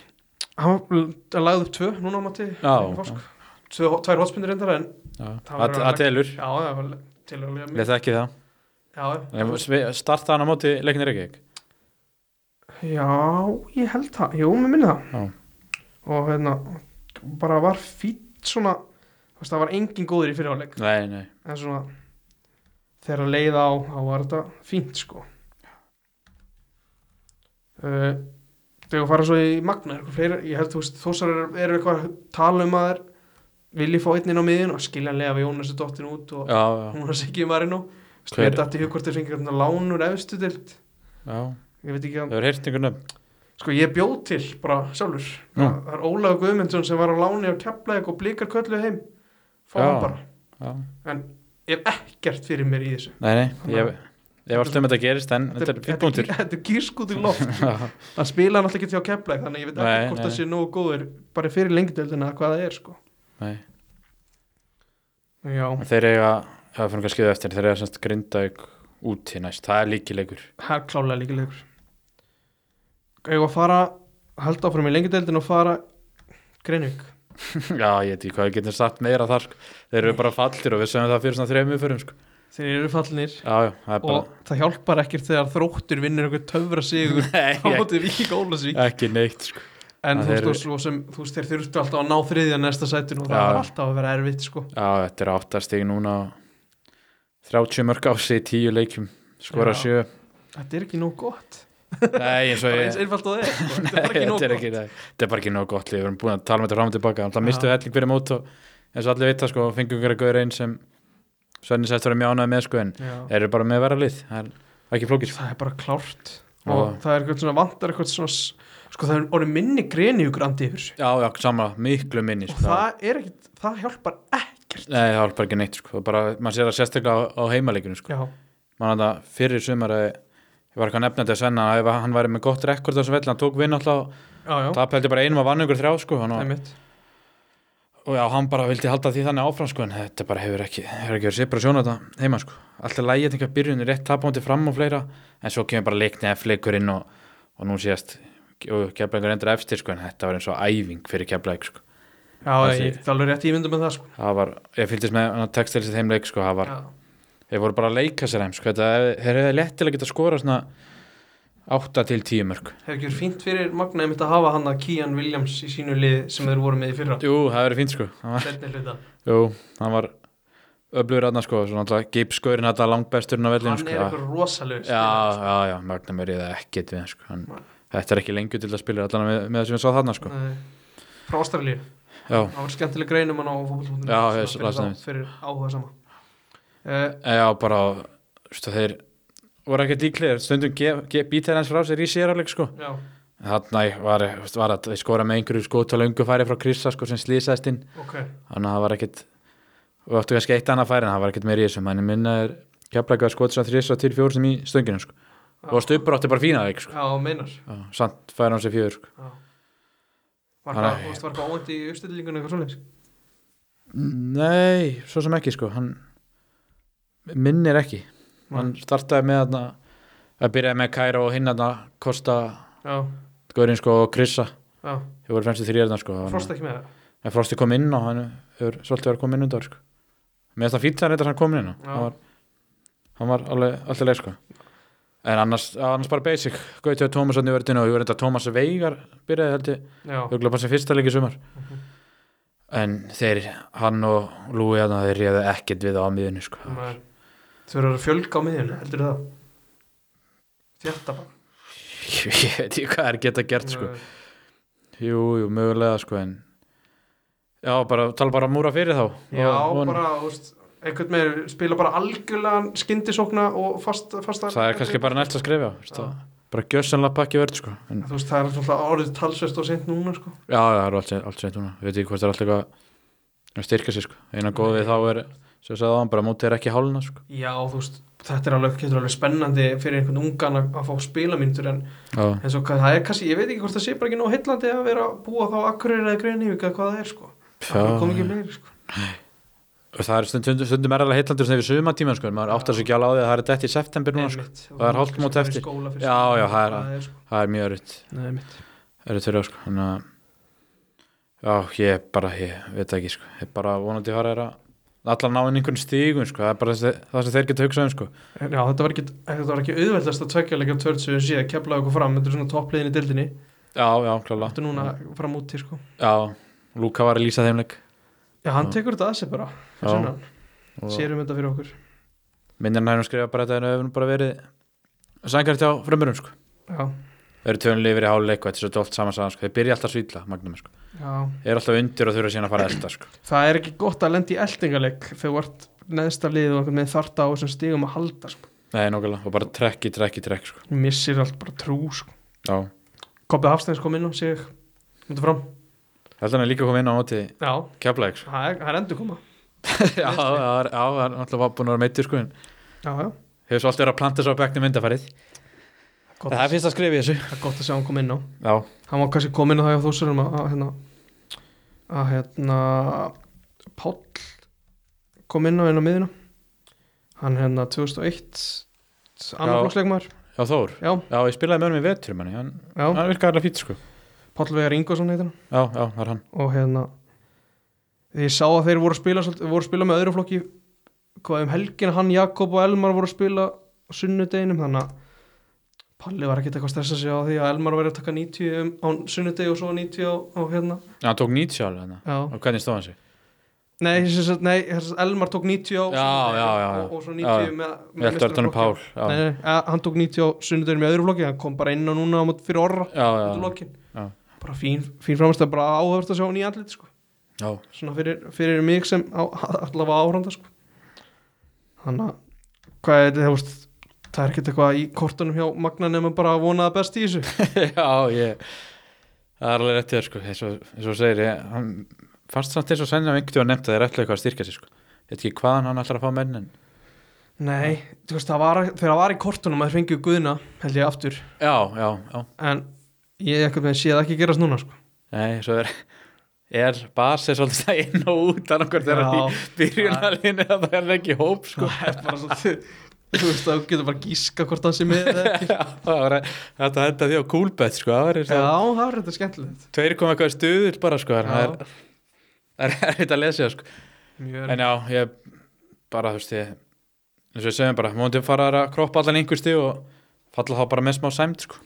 B: hann var- lagði upp tvö núna á móti
A: Já,
B: Reykjavík, sko. Tvö- tvær hotspundir endara en
A: já.
B: Það var
A: að
B: alveg-
A: að telur,
B: já, það var tilvægulega
A: við þekki það En
B: Já,
A: við- starta hann á móti leikinir ekki
B: já, ég held það, jú, mér minni það
A: Já.
B: og hérna bara var fýtt svona þú veist, það var engin góður í fyrirháleik
A: nei, nei,
B: en svona þegar að leiða á, þá var þetta fínt sko uh, þegar fara svo í Magna er eitthvað fleira, ég held þú veist þósar eru er eitthvað að tala um að þeir vilji fá einn inn á miðin og skiljanlega við Jónasi dottin út og
A: já, já,
B: hún var sikið marinn og
A: Hver-
B: spyrir dætti hugvort þeir fengið hérna lánur efstu dild
A: já.
B: ég veit ekki að
A: það er heyrt einhvern nöfn
B: Sko ég bjóð til bara sjálfur
A: Nú.
B: Það er Ólaður Guðmundsson sem var á láni á Keflavík og blikar köllu heim Fá
A: Já.
B: hann bara
A: já.
B: Ég hef ekkert fyrir mér í þessu
A: nei, nei, ég ég var alltaf um þetta gerist en þetta er
B: þetta er,
A: fyrrbúntur
B: gí- þetta er gískút í loft
A: já,
B: Það spila hann alltaf ekki til á Keflavík Þannig að ég veit
A: Nei,
B: ekki hvort
A: nei.
B: það sé nógu góður Bara fyrir lengdöldina hvað það er sko
A: nei
B: Já,
A: En Þeir eiga, það fyrir kannski eftir, þeir eiga semst grindaug úti næst, það er líkilegur.
B: það er klálega líka leikur Ég var að fara Halda áfram í lengdöldin og fara Greinvík
A: Já, ég veit ekki hvað við getum sagt meira þar, sko. Þeir eru bara fallir og við sögum það fyrir svona þrejum umförum, sko.
B: Þeir eru fallinir
A: Já, já, það er bara,
B: Og það hjálpar ekkert þegar þróttur vinnur einhver töfra sigur á
A: nei,
B: móti Vík Ólasvík
A: ekki, ekki neitt, sko.
B: En
A: Það
B: þú veist,
A: eru-
B: og svo sem, þú veist, þeir þurftu alltaf að ná þriðja næsta sætinu og það
A: Já.
B: var alltaf að vera erfitt, sko.
A: Já, þetta er áttastig núna, og 30 mörg á sig, 10 leikjum, skora 7.
B: Já. Þetta er ekki nóg gott.
A: Nei, eins og
B: Bara
A: ég...
B: eins einfalt og það er, sko. Þetta er bara ekki nóg
A: Þetta er
B: gott.
A: ekki, nei, þetta er bara ekki nóg gott lið, við erum búin að tala með þetta fram og tilbaka þannig
B: Já.
A: að mistu helling fyrir mót og eins og allir vita sko, fengum ykkur að gauður einn sem Svenni sætt var að mjánaði með sko en
B: Já.
A: eru bara með vera lið, það er ekki flókið sko.
B: Það er bara klárt.
A: Já.
B: Og það er eitthvað svona vantar eitthvað svona, s- sko, það er orðið minni greniugrandi yfir þessu.
A: Já, já, sama, miklu minni
B: Og
A: sko.
B: það er ekki, það hjálpar ekkert.
A: Nei, það var bara ekki neitt sko. bara, maður sér það sérstaklega á, á heimaleikinu sko.
B: Já,
A: maður hann að fyrir sumar að ég var eitthvað nefnandi að senna að ef hann væri með gott rekord á þessu velli, hann tók vinn alltaf
B: já, já,
A: það pældi bara einum að vann ykkur þrjá sko, hann,
B: það er
A: og,
B: mitt.
A: og já, hann bara vildi halda því þannig áfram sko, en þetta bara hefur ekki, hefur ekki verið sipra sjóna þetta heima sko. alltaf lægið einhver byrjun rétt tapándi fram og fleira en svo kemur bara leikni ef leikur inn og, og nú síðast keflækur endur efstir sko, en þetta var eins og æfing fyrir keflæk sko.
B: Já,
A: Það sé-
B: ég get alveg rétt ímyndum með það, sko.
A: það var, ég fylgdist með textilsið heimleik sko, það var
B: Já,
A: Þeir voru bara að leika sér heims Þeir hefði lett til að geta skora svona 8 til 10 mörg
B: hefur ekki verið fínt fyrir Magna einmitt að hafa hann að Kían Williams í sínu liði sem þeir voru með í fyrra.
A: Jú, það verið fínt sko Hann var-
B: Seinni hluta.
A: Jú, hann var öflugur aðna sko Svo náttúrulega gipskurinn þetta langbesturinn á vellinu
B: Hann
A: sko
B: er eitthvað sko. rosalegu.
A: Já, já, já, Magnum er í það ekkit við hann, sko hann,
B: Nei.
A: Þetta er ekki lengur til að spila allan með, með það sem við sá þarna sko
B: Frá Ástralíu.
A: Já,
B: Það var skemmtileg grein um hann á fókbaltúrunum
A: Já, ég las það.
B: Fyrir áhuga sama uh,
A: e, já bara, veistu, þeir voru ekkert líklegir Stundum ge- ge- býta þeir hans frá sér í sérafleik sko
B: Já,
A: Þannig var, var að þeir skora með einhverju skótalöngu færi frá Krissa sko sem slýsaðist inn
B: ok
A: þannig að það var ekkit við áttu kannski eitt annað færi en það var ekkit meir í þessum en minna er keflæk að skotsa þrjus og til fjór sem í stönginu sko. og stupur átti bara fína það sko.
B: Já, meinar
A: Já, samt færi hann sér fjór sko.
B: Já. Var
A: Hann
B: hvað,
A: er-
B: þú veist, var hvað óvænt í uppstillingunni eitthvað svoleiðis?
A: nei, svo sem ekki sko. hann minnir ekki hann startaði með þarna að byrjaði með Kæra og hinn að kosta
B: Já,
A: Gaurinn sko og Krissa
B: já,
A: þau voru fremstu þrýjarna sko. Þannig að-
B: frost ekki með það
A: en Frosti kom inn og hann er svolítið verið komin inn undan sko. mér finnst það fínt að hann hann kom inn á.
B: Já.
A: hann var, hann var alveg alltaf leið sko. en annars, annars bara basic Gauti og Tómas hann í verðinu og ég verði þetta Tómas Veigar byrjaði held ég,
B: Já,
A: hugla bara sem fyrsta leik í sumar en þeir, hann og Lúi hann, þeir réðu ekkert við á miðinu sko.
B: maður- þau eru að fjölga á miðjunni, heldur það Þjarta bara
A: ég veit ekki hvað er geta gert sko.
B: Nei.
A: jú, jú, mögulega sko, en já, bara, tala bara múra fyrir þá
B: Já,
A: Og- og-
B: bara, þú veist, einhvern með spila bara algjörlega skyndisókna og fast, fasta
A: það er kannski bara næst að skrifja
B: Já.
A: bara gjössanlega pakki verð sko. en,
B: Þú veist, það er alltaf orðið talsvert og sent núna, sko
A: já, já, það er allt, allt seint núna við veitum ekki hvort það er alltaf eitthvað að styrka sig sko. eina góð við þá er sem sagði það, bara mótið er ekki hálna sko.
B: Já, þú veist, þetta er alveg, getur alveg spennandi fyrir einhvern ungan að, að fá spila mínútur en,
A: já,
B: en svo, hvað- það er kannski, ég veit ekki hvort það sé bara ekki nóg heillandi að vera að búa þá akkurir eða greinivík eða hvað það er, sko Það kom ekki
A: já.
B: meiri, sko
A: Og það er stundum, stundum erlega heitlandi yfir sumatíma sko. en maður áttar sig ekki alveg á því að það er dætt í september núna sko.
B: Einmitt.
A: Það er hálft mót
B: Kannski bara í
A: eftir.
B: skóla fyrst.
A: Já, já, það er-
B: er sko.
A: það er mjög örytt
B: Nei, mitt
A: örytt fyrir þá, sko. þannig að já, ég bara, ég veit ekki sko. ég bara vonandi fara er að allar ná inn einhvern stígun sko. það er bara þessi- það sem þeir geta hugsað um sko.
B: Já, þetta var ekki, þetta var ekki auðveldast að tvekja leikja törtsu en síðan keflaði okkur fram þetta er svona toppliðin í dildinni
A: já, já, klála
B: Þetta er núna fram út til sko
A: Já, Lúka var að lýsa þeimleik
B: Já, hann
A: Já.
B: tekur þetta að sér bara
A: Já.
B: Svona,
A: og
B: Sérum þetta fyrir okkur
A: minnir hann að skrifa bara þetta en hefur bara verið sængart hjá frömmurum sko.
B: Já,
A: Þeir eru tönli yfir í háluleik og þetta er svo dolt saman saman sko. Þeir byrja alltaf svítla, Magnum sko.
B: já
A: Þeir eru alltaf undir og þurfa síðan að fara elda sko.
B: Það er ekki gott að lenda í eldingaleik þegar þú ert neðsta lið og einhvern veginn þarta á þessum stigum að halda sko.
A: Nei, nokkulega, og bara trekk í trekk í trekk sko.
B: Missir allt bara trú sko.
A: Já,
B: Koppi Hafsteins kom inn og sig Myndi fram
A: heldur hann er líka komið inn á móti
B: Já,
A: keflaðið sko.
B: það er, það er endur koma
A: Já, það var- já, það er alltaf búin að vera meittur sko. en
B: Já, já
A: Hefur svo alltaf verið að planta svo á bekknum undarfærið
B: Gott,
A: er fyrst að skrifa í þessu
B: það er gott að sjá hann kom inn á
A: Já,
B: hann var kannski komin að það hjá þúsurum að, að hérna að hérna Páll kom inn á inn á miðina hann hérna 2001 annar
A: Já.
B: flokksleikmaður
A: já Þór
B: já,
A: Já, ég spilaði með honum í vetur manni. Hann,
B: já,
A: hann virkaði alveg fýtt sko.
B: Páll Vegar Ingvarsson heitir hann
A: Já, já, það er hann
B: og hérna ég sá að þeir voru að spila svolítið- voru að spila með öðru flokki hvað um helgin hann Jakob og Elmar voru að spila á sunnudeginum þannig að Palli var ekkert eitthvað að stressa sig á því að Elmar var að taka 90 um- á sunnudegi og svo 90 á, á hérna
A: Já, Hann tók 90 alveg hann
B: já.
A: Og hvernig stóð hann sig?
B: Nei, sem sagt, nei sem sagt, Elmar tók 90 á
A: Já, já,
B: sunnudegi
A: já, já.
B: og, og svo
A: Já,
B: 90
A: já.
B: með,
A: Ég held að Örnur Pál já.
B: Nei, nei, nei, að- hann tók 90 á sunnudeginu með öðru flokki hann kom bara inn á núna á móti fyrir orra
A: já, já,
B: þetta lokin
A: Já.
B: bara fín, fín framist að bara áhörst að sjá hann í andlit sko.
A: já,
B: svona fyrir, fyrir mig sem á, allavega áhranda sko. þannig að hvað er þetta, þú veist, það er ekkert eitthvað í kortunum hjá Magna nema bara að vona það best í þessu
A: já, ég það er alveg réttið sko, eins og, eins og þú segir ég, hann fannst samt eins og sennið að einhvern veginn nefnt að þeir ætla eitthvað að styrka sig sko. ég veit ekki hvaðan hann ætlar að fá menn en...
B: Nei, þú veist, það var, þegar það var í kortunum að fengið guðna, held ég aftur
A: já, já, já,
B: en ég ekkert með sé það ekki gerast núna sko.
A: nei, svo er er basið svolítið það inn og út þannig hvort þeirra
B: Já.
A: í byrjunarlinni að það er ekki í hóp sko.
B: það er bara svolítið þú veist þá getur bara gíska hvort hann sé með eða ekki
A: já, það var þetta henda því á kúlbett sko, það var
B: já það er þetta skemmtilegt
A: tveir kom eitthvað stuðul bara sko, þannig
B: Já.
A: að það er það er erfitt að lesa sko.
B: mjög
A: En já, ég bara, þú veist, ég eins og ég segjum bara, móndi fara að kroppa allan einhversti og falla þá bara með smá sæmt, sko.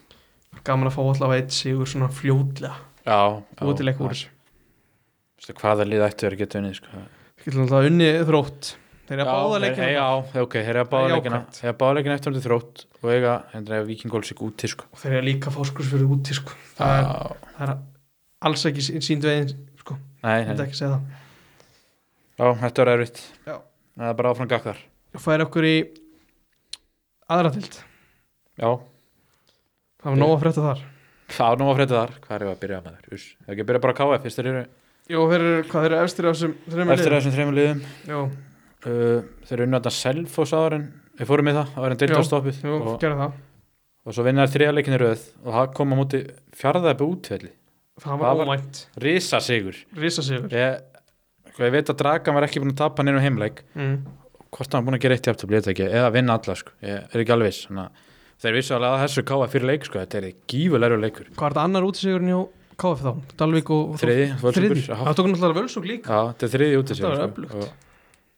B: gaman að fá allavega eitt sigur svona fljóðlega
A: Já, já.
B: útileik úr þessu
A: Þú veist, hvaða lið ættu verið að geta unnið, sko.
B: við getum alltaf unni þrótt þeir eru að
A: Já,
B: báða
A: þeir-
B: leikina
A: Já, ok, þeir eru að
B: Það er
A: báða leikina.
B: jákvætt.
A: Þeir eru að báða leikina eftir hundi þrótt og eiga, hendur eiga vikingólsík úti, sko.
B: og þeir eru líka fóskurs fyrir úti sko. það, er,
A: Já,
B: það er alls ekki sí- sínd veginn sko.
A: nei,
B: þetta
A: nei.
B: ekki segja það
A: Já, þetta er erfitt.
B: Já.
A: Það er bara áfram gakkar.
B: og færi okkur í aðratild
A: Já,
B: það var nóg að frétta þar
A: það er nú að frétta þar. Hvað er ég að byrja með þér? Uss, það er ekki að byrja bara á KF, fyrst þeir eru
B: Jó, þeir eru, hvað þeir eru efstir á þessum þreymur
A: eftir þessum þreymur liðum.
B: Jó,
A: Uh, þeir eru unnvægt að Selfoss áður en, við fórum í það, áður en
B: Já,
A: deildastoppið.
B: jú,
A: og
B: gerðu það
A: og svo vinna þær þriða leikinni röð og það kom á móti fjarðabbi útvelli
B: Það
A: Það
B: var
A: var-
B: ómænt,
A: risa sigur
B: risasigur
A: ég, sko, ég veit að Dragan var ekki búin að tapa nýjum heimleik
B: mm.
A: hvort hann var búin að gera eitt jafn til ekki eða vinna alla sko, ég er ekki alveg viss þannig að þeir vissu alveg að þessu káa fyrir leik sko, þetta er gífulegur leikur
B: Hvað er þetta annar útisegurinn hjá KF þá? Dalvík og... og
A: þriði,
B: Þriði?
A: Völsungur, já,
B: Það tók náttúrulega Völsung líka.
A: já, þetta er þriði
B: Þetta var
A: útisigur
B: öflugt.
A: og,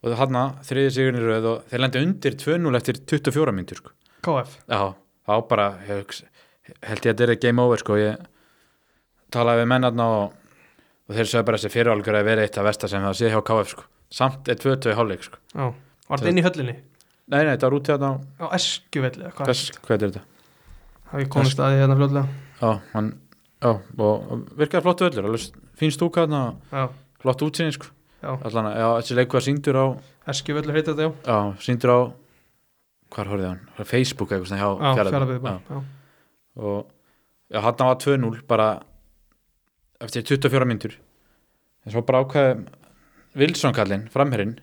A: og hann þriði sigurinn í röð og þeir lendi undir 2-0 eftir 24 myndur sko.
B: KF.
A: já, á bara ég, hugsa- held ég að þetta er game over sko ég talaði við mennarna og, og þeir sögðu bara þessi fyrirálgur að vera eitt að versta sem það sé hjá KF sko samt er 2-2 hálfleik sko
B: Já, var þetta inn í höllinni
A: nei nei þetta var út í þetta á
B: á Eskjuvelli eða hvað
A: hvers, hvað er þetta
B: hafi komist að því hérna fljóðlega
A: já, hann, já og og virkaði flott völlur alveg s- fín stúka þarna og
B: já,
A: flott útsinni sko
B: já,
A: allan að já, þessi leikur var síndur á
B: Eskjuvelli heitir þetta já
A: já síndur á hvar horfði hann Á Facebook eitthvað svona hjá
B: á
A: Fjarðabyggð.
B: Fjarlabíði
A: Já.
B: bara já.
A: og já, hann var 2-0 bara eftir 24 myndur en svo bara ákvaði Wilson kallinn, framherinn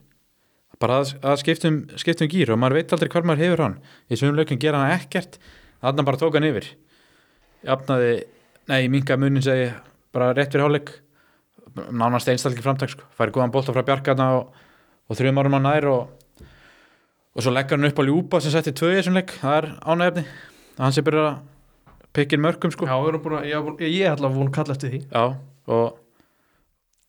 A: bara að, að um, skiptum, skiptum gýr og maður veit aldrei hvað maður hefur hann í svonum lögum gera hann ekkert þannig bara tók hann yfir jafnaði, nei, minga munin segi bara rétt fyrir hálfleik nánast einstaklega framtak sko, fær góðan bolta frá Bjarkarna og, og þrjum árum á nær og, og svo leggur hann upp á ljúpa sem setti tvö í þessum leik, það er ánægefni hann sem byrjar að pikkin mörgum sko
B: já, við erum búin að, ég, var búin- ég ætla að búin að kalla eftir því
A: Já, og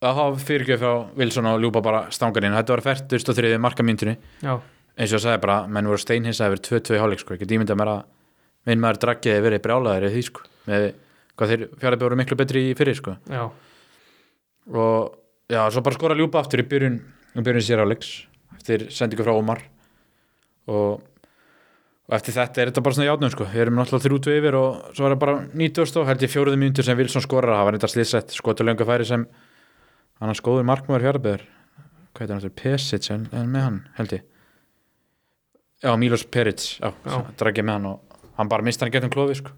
A: það hafa fyrirgjöf frá Wilson og ljúpa bara stanganinn þetta var fært og þriðið markamýndunni
B: já,
A: eins og ég sagði bara, menn voru steinhinsa yfir 2-2 hálfleik sko, ekki dýmynda mér að minn maður draggiði verið brjálaður í því sko með hvað þeir fjárlega voru miklu betri í fyrir sko
B: já,
A: og já, svo bara skora ljúpa aftur í byrjun í byrjun sér áleiks eftir sendingu frá Ómar og, og eftir þetta er þetta bara svona játnum sko, við erum náttúrulega þrjútu yfir og svo er það bara 90 og held ég fjóruðu mínútur sem Wilson skorar, það var þetta slissett skotur löngu færi sem annars góður markmaður fjárbeður hvað heitir hann aftur, Pesic en, en með hann held ég já, Milos Peric, já,
B: Já.
A: já. dragið með hann og hann bara mista hann getum klófi sko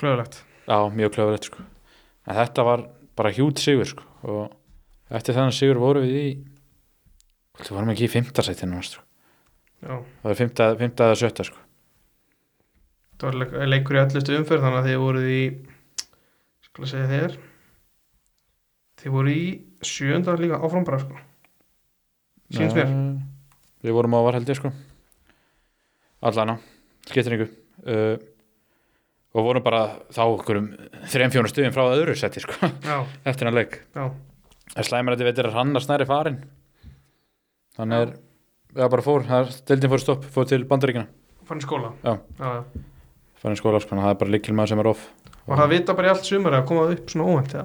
B: klöðulegt
A: Já, mjög klöfulegt sko. En þetta var bara hjút sigur sko. og eftir þennan sigur vorum við í Þú varum ekki í fimmtarsættinu sko.
B: já,
A: það var fimmta, fimmta eða sjötta sko.
B: það var leik- leikur í öllustu umferð þannig að þið voruð í skal ég segja þér þið voruð í sjönda líka áfram bara sko Sýnist mér.
A: Nei, Við vorum á varheldi sko. Allana, skiptir yngu uh, og vorum bara þá okkur um þrejum fjónu stuðum frá öðru sætti sko,
B: já,
A: eftir hann leik
B: já,
A: En slæmar þetta veitir að hann að snæri farin Þannig er Já, bara fór, það er- deildin fór í stopp, fór til bandaríkina
B: fann í skóla
A: Já.
B: já, já.
A: farin í skóla, sko, þannig að það er bara líkilmaður sem er off
B: var það að vita bara í allt sumar að koma það upp svona óvænt eða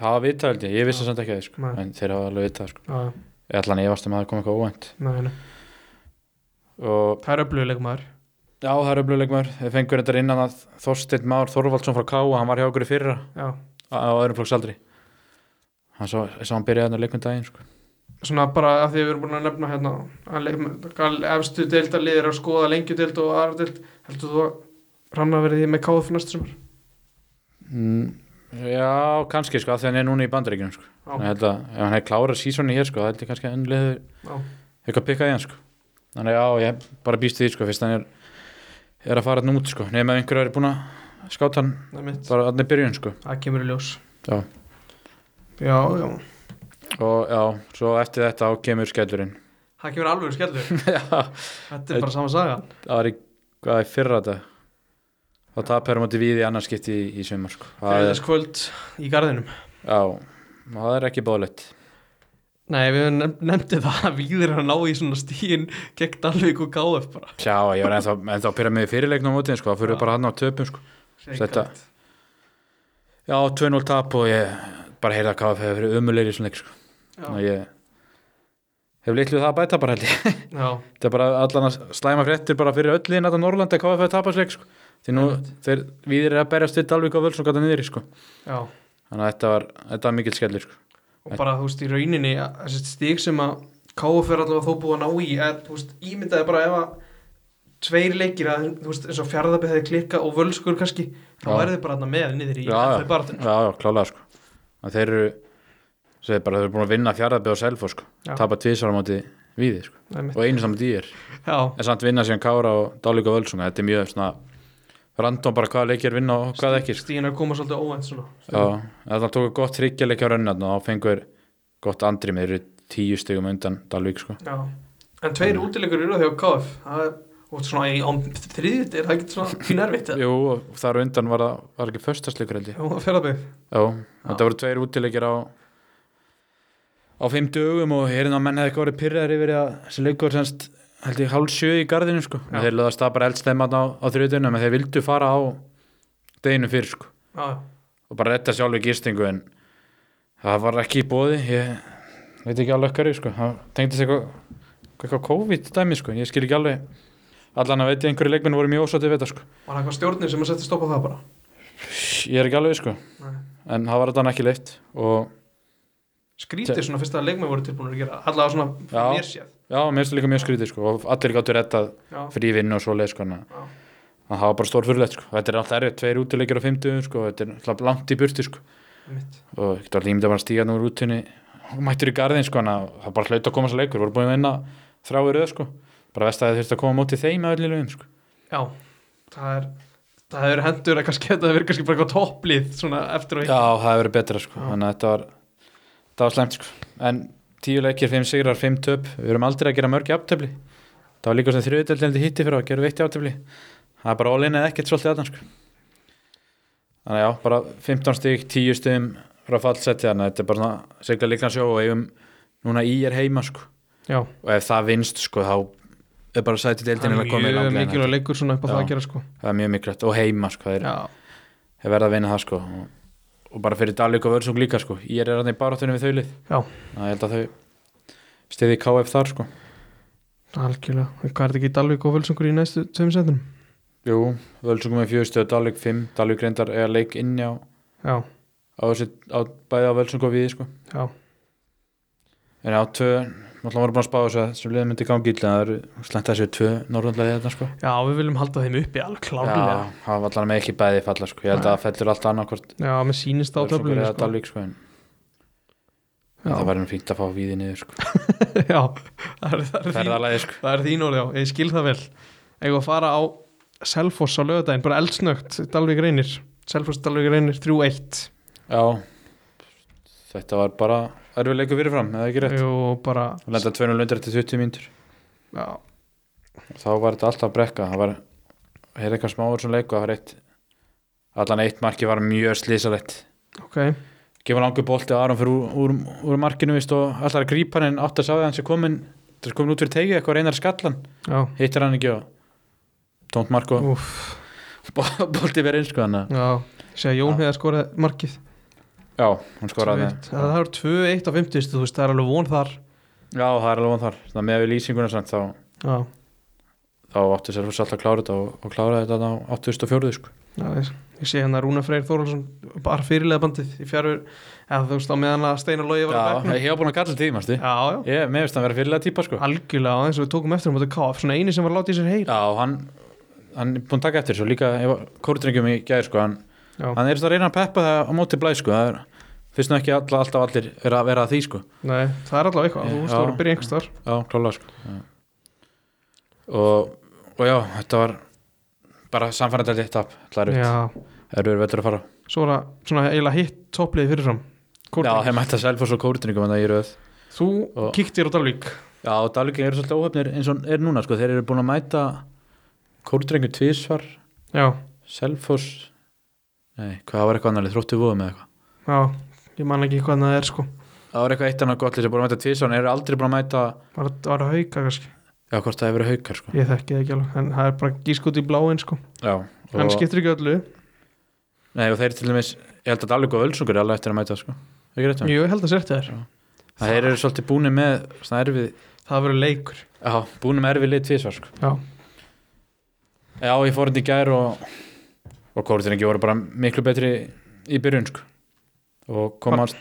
A: Það var vita held ég, ég vissi samt ekki að því sko.
B: Nei.
A: en þeir hafa alveg vitað sko.
B: já,
A: Ég ætlan ég varst um að það kom eitthvað óvænt
B: nei, nei.
A: og
B: það er öfluguleik maður
A: já, það er öfluleikmaður, við fengum þetta innan að Þorsteinn Már Þorvaldsson frá K.A. hann var hjá okkur í fyrra
B: já.
A: á á öðrum flokks aldri hann sá, sá hann byrjaði þarna leikum daginn sko.
B: svona bara að því við erum búin að nefna hérna að leik- efstu deildarlið er að skoða lengju deild og aðra deild heldur þú að ranna verið með KF næsta sumar
A: mm, Já, kannski sko, af því hann er núna í bandaríkjunum sko.
B: já,
A: Þannig að þetta- ef hann hefði klárað sísoni hér sko, það held ég kannski að enn liður
B: já,
A: eitthvað pikkað í hann sko. þannig að já, ég bara býst við því sko, fyrst hann er, er að fara hann út sko. nema ef einhverjar er búin að skáta hann
B: það er mitt
A: bara hann er byrjun sko.
B: það kemur í ljós
A: Já.
B: já, já,
A: og já, svo eftir þetta þá kemur skellurinn
B: það kemur alveg skellur
A: já,
B: þetta er bara sama saga
A: það var í, hvað er fyrra þetta þá tapar hann mútið við í annarskipti í, í sumar sko. það, er,
B: þriðis kvöld í garðinum
A: já, það er ekki bóðlegt
B: nei, við nef- nefndum það að við erum að ná í svona stíin gegn Dalvik og KF bara
A: já, ég var ennþá, ennþá að pyrra mig í fyrirleiknum á mótið sko. það fyrir
B: Já.
A: bara hann á töpum sko. Þetta-
B: Hrikalegt.
A: já, 2-0 tap og ég bara heyrða hvað það hefur verið umulegri svona leik sko.
B: já,
A: Þannig að ég hef litlu það að bæta bara held ég
B: já,
A: þetta er bara allan að slæma fréttir bara fyrir öll liðin þetta Norrlanda hvað er það að tapa sig sko. því nú þeir, við erum að berjast við Dalvík og Völsung gata niður sko.
B: já
A: þannig að þetta var, þetta var mikill skellir sko.
B: og bara þú veist í rauninni að- þessi stík sem að KF er allavega þó búið að ná í en þú veist ímyndaði bara ef að tveir leikir að þú veist eins og fjárðabið hefði klikka og völskur kannski þá
A: Já.
B: værið þið bara þarna með niður í
A: Já, já.
B: þau barðin
A: já, já, klálega sko. Að þeir eru þeir eru bara, þeir eru búin að vinna fjárðabbi og selfo sko.
B: Já.
A: tapa tvísar á móti viði sko. og einu saman dýr
B: já,
A: en samt vinna síðan Kára og Dalvík og Völsung þetta er mjög svona random bara hvaða leikir vinna og hvað ekki sko.
B: stíðin að koma svolítið óvænt svona
A: já, þetta tóku gott hryggjarleik á rönnarna og fengur gott andri með þeir eru tíu stegum undan Dalvík sko.
B: já. en tveir
A: Mm.
B: útilegur eru þau á KF það er og svona í án þriðið er það ekki svona nervitt
A: Jú, og þar á undan var, það- var ekki föstasleikur held ég.
B: fjárðabið
A: Já, þetta voru tveir útileikir á á fimm dögum og hérna menn hefði ekki orðið pyrraðir yfir að sem leikur semst held ég hálf sjö í gardinu sko
B: Já.
A: og þeir löðast það bara eldstemman á, á þriðdunum en þeir vildu fara á deginu fyrir sko
B: já,
A: og bara retta sjálfur gistingu en það var ekki í bóði ég veit ekki alveg hverju sko það tengdist eitthvað eitthvað COVID dæmi sko ég skil ekki alveg allan að veit ég einhverju leikmenn voru mjög ósátið við þetta sko
B: var það eitthvað stjórnir sem að setja stopp á það bara
A: ég er ekki alveg sko
B: Nei.
A: en það var þetta ekki leitt og
B: skrítið svona fyrst að leikmenn voru tilbúin að gera allavega svona
A: Já.
B: mér séð
A: já, mér finnst það líka mjög skrítið sko og allir gáttu rettað
B: já,
A: frívinn og svo leið sko en
B: já,
A: það var bara stór fyrirlegt sko þetta er alltaf errið, tveir útileikir á 50 sko þetta er alltaf langt í burti sko
B: mitt
A: og ég getur allir ímyndað bara að stíga nú úr útunni og mættur í garðin sko en það bara hlaut að koma sér leikur, voru búin að vinna þráir öð sko, bara vest að það þurfti að koma á móti þeim að öllu lögum sko
B: já, það er það hefur hendur að kannski þetta hefur kannski bara eitthvað topplið svona eftir og
A: Já, það hefur verið betra sko,
B: Já.
A: þannig að þetta var þetta var slæmt sko, en tíu leikir, fimm sigrar, fimm töp, við erum aldrei að gera mörg í aftöfli, það var líka sem þriðutöldinni hitti fyrir að gera veitt í aftöfli það er bara all-in eða ekkert svolítið aðan sko þannig að já, bara 15 stík, 10 stíðum frá fallseti, þannig að þetta er bara svona segla líka sjó og eigum núna í er heima sko,
B: já,
A: og ef það vinst sko, þá er bara sætið
B: það
A: deildinni
B: er
A: að koma í
B: mjög
A: langt
B: mikilvæg leikur svona upp á
A: Já.
B: það að gera sko
A: það er mjög mikilvægt, og heima sko, það er
B: já,
A: Ég verða að vinna það sko og, og bara fyrir Dalík og Vörsung líka sko ég er rannig í baráttunni við þaulið
B: Já.
A: Ná, ég held að þau stiði KF þar sko
B: algjörlega, hvað er þetta ekki Dalvik og Völsungur í næstu tveim setnum
A: Jú, Völsung með fjöðstöð, Dalík 5 Dalík reyndar eða leik inni á,
B: já,
A: á, þessi, á bæði á Völsung og við sko
B: já,
A: en á tvö, náttúrulega voru búin að spá þessu að sem liðið myndi gangi illa en það eru slengt þessu tvö norðanlega þetta sko
B: já, við viljum halda þeim uppi alveg klárlega
A: Já, það var allan með ekki bæði falla sko ég held að það fellur allt annarkvort
B: já, mér sýnist á
A: Völsungur
B: töflunni
A: eða
B: sko.
A: Dalík sko en en
B: Já.
A: það verður nú fínt að fá við niður sko
B: já, það er, það er þín
A: ferðalagi sko
B: Það er þín orð, já, ég skil það vel Eða að fara á Selfoss á lögadaginn, bara eldsnögt Dalvík reynir, Selfoss Dalvík reynir 3-1
A: Já Þetta var bara erfiðleiku fyrirfram eða ekki rétt
B: og bara
A: Við lenda 200 undir til 20 mínútur
B: já,
A: og þá var þetta alltaf brekka það var hér eitthvað smáður sem leiku það var eitt allan eitt marki var mjög slísalegt
B: ok,
A: gefur langur bolti að Aron fyrir úr, úr, úr markinu víst, og allar að grípa hann en átt að sá það hans er komin það er komin út fyrir teigið eitthvað reynar skallan
B: já,
A: hittir hann ekki og tónt mark og
B: úff
A: bolti verið inn sko þannig að-
B: já, ég segi að Jón hefði skorað markið
A: já, hún skoraði
B: 2-1. Já, það er 2-1 á 50, þú veist, það er alveg von þar
A: já, það er alveg von þar þannig að með við lýsinguna samt þá
B: já,
A: þá átti sér fyrst alltaf að klára þetta og, og klára þetta á 2004 sko.
B: já ég, ég segi hann að Rúna Freyr Þórhalsson bara fyrirlega bandið í fjárfur eða þú veist, á meðan að Steinar Lógi var að
A: Já, ég hef búin að kalla tíma stu.
B: já,
A: ég, mér finnst hann vera fyrirlega típa
B: já,
A: sko.
B: algjörlega eins og við tókum eftir um þetta KF, svona eini sem var að láta í sér
A: já,
B: heyra
A: og hann hann er búin að taka eftir svo líka kórdrengjum í gæð sko, hann,
B: Já.
A: hann er svona að reyna að peppa það á móti blæ sko. það er, finnst nú ekki all, alltaf allir vera, vera að því sko.
B: Nei, það er allavega eitthvað, þú veist,
A: Já.
B: það voru að byrja einhverstaðar
A: já, klála sko. Já. og, og já, þetta var bara samfærandaldi tap, það er
B: Já,
A: verið vettur að fara
B: svo er það svona eiginlega hitt toppliði fyrirfram
A: já,
B: Kórnvík.
A: þeim ætti að selfa svo kórdrengjum en það er röð
B: Þú
A: Og-
B: kíktir á Dalvík
A: Já, og Dalvík eru svolítið óhefnir eins og er núna sko. þeir eru búin að mæta Kórdrengu tvísvar,
B: Já,
A: Selfoss Nei, hvað það var eitthvað annarlið, þróttu vóðum eða eitthvað
B: já, ég man ekki hvað það er sko
A: Það var eitthvað eitt annað gott lið sem búin að mæta tvísvar en eru aldrei búin að mæta,
B: Var það var að hauka kannski,
A: já hvort það hefur verið haukar sko.
B: ég þekki það ekki alveg En það er bara gískút í bláin sko
A: Já, og,
B: En skiptir ekki öllu,
A: nei, og þeir til dæmis ég held að Dalvík og Ölsungur er alveg eftir að mæta sko. ekki rétt um
B: jú, ég held að sér þetta er
A: Já. Það þeir eru svolítið búin með svona erfið,
B: Það verður leikur
A: já, búin með erfið lið tvísvar sko.
B: Já,
A: Já, ég fór hérna í gær og, og Kórdrengi voru bara miklu betri í byrjun sko. og komast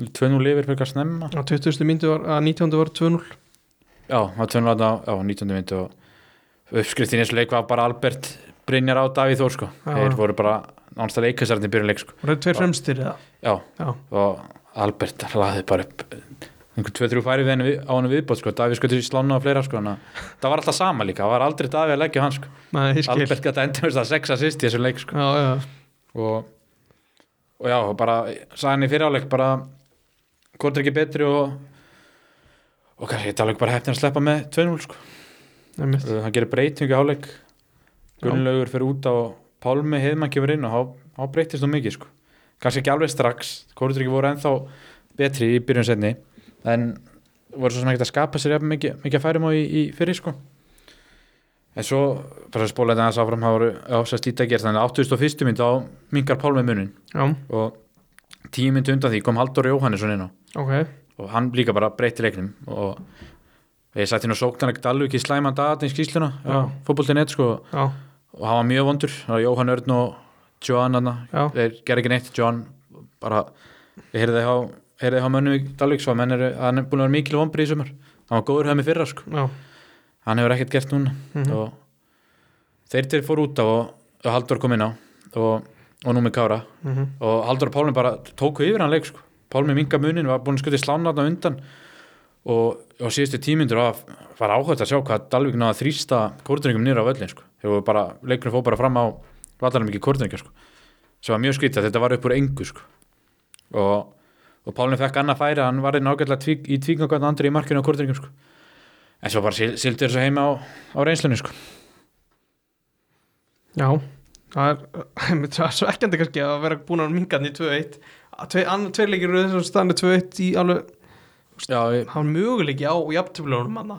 A: 2-0 lifir fyrir hvað snemma
B: á 20. myndu var, að 19. var 2-0
A: Já, það var tönulegt á, á 19. mynd og uppskriftin eins og leik var bara Albert Brynjar á Davíð Þór sko.
B: Já,
A: þeir
B: já.
A: voru bara nánast að leikastarðin byrjun leik sko.
B: Var það tveir
A: Já.
B: fremstir eða?
A: Já,
B: Já,
A: og Albert laði bara upp einhver 2-3 færi við henni við, á henni viðbót sko. Davíð skoði í slána og fleira sko. Þannig að það var alltaf sama líka, það var aldrei Davíð að leggja á hann sko.
B: Nei, ég skil
A: Albert gæti endur að sex assist í þessum leik sko.
B: Já, já,
A: og, og já, og bara sæðan í fyriráleik bara hvort er ekki betri og og kannski þetta alveg bara hefnir að sleppa með 2-0 sko.
B: nefnist
A: Uh, hann gerir breytingu í háleik
B: Já.
A: Gunnlaugur fyrir út á Pálmi Heiðmann kemur inn og há, há breytist nú mikið sko. kannski ekki alveg strax Kóruður voru ennþá betri í byrjun setni en voru svo sem ekki að skapa sér jafn mikið, mikið að færum á í, í fyrir sko en svo, bara að spóla þetta aðeins áfram það voru ásast í dagir, þannig að 81. mynd á mingar Pálmi munin
B: já,
A: og tíu mynd undan því kom Halldór Jóhannesson inn á
B: ok
A: og hann líka bara breytti leiknum og ég sætti nú sóknan ekkert alveg ekki slæman hérna dagatinn skýsluna
B: Já.
A: fótbolti.net sko
B: já,
A: og hann var mjög vondur, það var Jóhann Örn og Johan hann,
B: Já.
A: þeir gerði ekki neitt Johan bara, ég heyrði á heyrði á mönnum í Dalvík svo að menn eru, hann er búin að vera mikil vonbrið í sumar hann var góður hefði fyrra sko,
B: já,
A: hann hefur ekkert gert núna
B: Mhm.
A: og þeir til fór út á og, og Haldur kom inn á og, og nú með Kára
B: mhm,
A: og Haldur og Pálmi bara tóku yfir hann leik sko. Pálmi minga munin, var búin að skuti slánarna undan og, og síðustu tímyndur var, var áhægt að sjá hvað Dalvík náða þrýsta kórtningum nýra á völlin sko. þegar bara, leikunum fór bara fram á vallarum ekki kórtninga sko. sem var mjög skrítið, þetta var upp úr engu sko. og, og Pálmi fekk annað færi, hann var einn ágætlega tvík, í tvíkangan andri í markinu á kórtningum sko. en svo bara sildur þessu heima á, á reynslunni sko.
B: já það er, það er svekkjandi kannski að vera búin að minga hann í 2-1 Að tve, annar tveir leikir eru þessum staðinu 2-1 í alveg,
A: já, ég,
B: hann möguleiki á jafntöflunum hann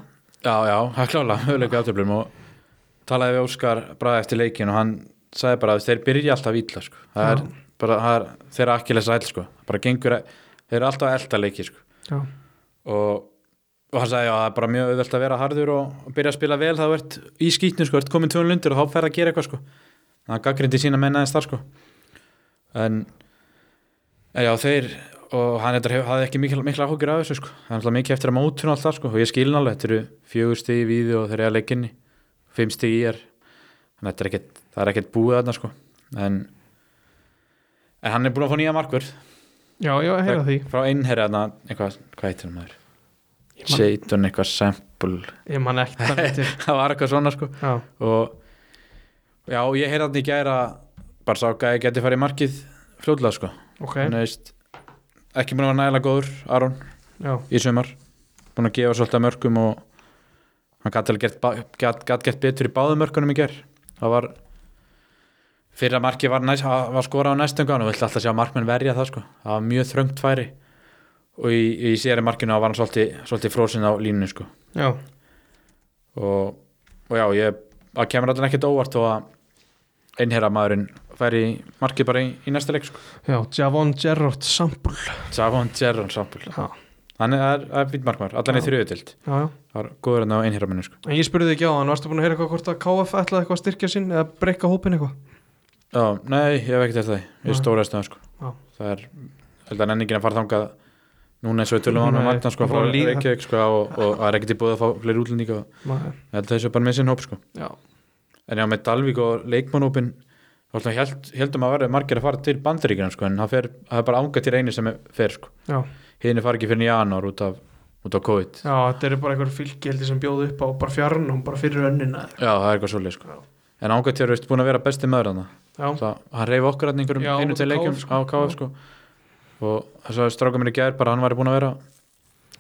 A: Já, já, það er klálega, höfuleika átöflum og talaði við Óskar bara eftir leikin og hann sagði bara að þeir byrja alltaf ítla sko. það er
B: Já.
A: bara, það er, þeir eru ekki lesa æll sko. bara gengur, að- þeir eru alltaf að elta leiki sko.
B: já,
A: og, og hann sagði að það er bara mjög auðvelt að vera harður og, og byrja að spila vel það verðt í skýtnu, sko, verðt komin tvön lundir og þá ferð að gera eitthvað sko. þannig að gaggrindi sína menn aðeins þar sko. en en já, þeir og hann þetta hafði ekki mikla, mikla áhugur af þessu sko. það er alltaf mikið eftir að mótuna allt það sko. og ég skilin alveg, þetta eru fjögur stig í víði og þeir eru að leikinni, fimm stig í er þannig að þetta er ekkert, það er ekkert búið þarna sko. en en hann er búin að fá nýja markvörð
B: já, já, ég heyra því
A: frá einherja þarna, eitthvað, hvað heitir hann maður
B: Ég man-
A: Jadon eitthvað sample
B: ég man ekkert hvað hann heitir.
A: það var eitthvað svona sko
B: já,
A: og já, og ég heyrði hann í gæra bara sá að ég geti farið í markið fljóðlega sko
B: ok,
A: Þannig, veist, ekki búin að vera nægilega góður Aron
B: já,
A: í sumar búin að gefa svolítið af mörgum og hann gæti alveg gert, ba- gat, gat gert betur í báðum mörkunum í gær það var fyrra markið var, næst, var skora á næstungan og vill alltaf sjá markmenn verja það sko það var mjög þröngt færi og í, í séri markinu var hann svolítið, svolítið frósin á línu sko
B: já
A: og, og já, ég, það kemur alltaf ekkert óvart og að einherra maðurinn færi í markið bara í, í næsta leik sko.
B: já, Javon Gerrard Sambul
A: Savon Gerron Sampul
B: já,
A: hann er, er, er fint markmaður, allan í
B: Já.
A: þriðutild
B: já, já
A: það var góður enn á einherra menni sko.
B: En ég spurði ekki á hann, varstu búin að heyra eitthvað hvort að KF ætlaði eitthvað að styrkja sinn eða breyka hópin eitthvað?
A: já, nei, ég hef ekkert eftir það ég
B: Nei.
A: stóra stöðan sko.
B: Já.
A: það er, held að nenningin að fara þangað núna eins og við tölum á hann
B: Nei,
A: að magna sko,
B: það
A: frá
B: var líka-
A: Reykjavík sko, og, og það er ekkert í búið að fá fleiri útlendinga og
B: Maður.
A: ég held að þessu er bara með sinn hóp sko.
B: Já,
A: en já, með Dalvík og leikmannhópin þá alltaf held, heldum að verða margir að fara til bandaríkina sko, en það, fer, það er bara ánga til einu sem er, fer sko.
B: já,
A: hinn fara ekki fyrir janúar út af, út af COVID
B: já, þetta eru bara einhver fylgjeldi sem bjóðu upp á bara fjarnum, bara fyrir önnina
A: já, það er eitthvað svolítið sko.
B: Já.
A: en ánga til er búin að vera besti maður hann
B: Já,
A: það, hann reyf okkur hann einhverjum
B: Já,
A: einu
B: móti
A: til leikjum
B: KF, sko.
A: á KF sko. og þess að stráka mér í gær bara hann var búin að vera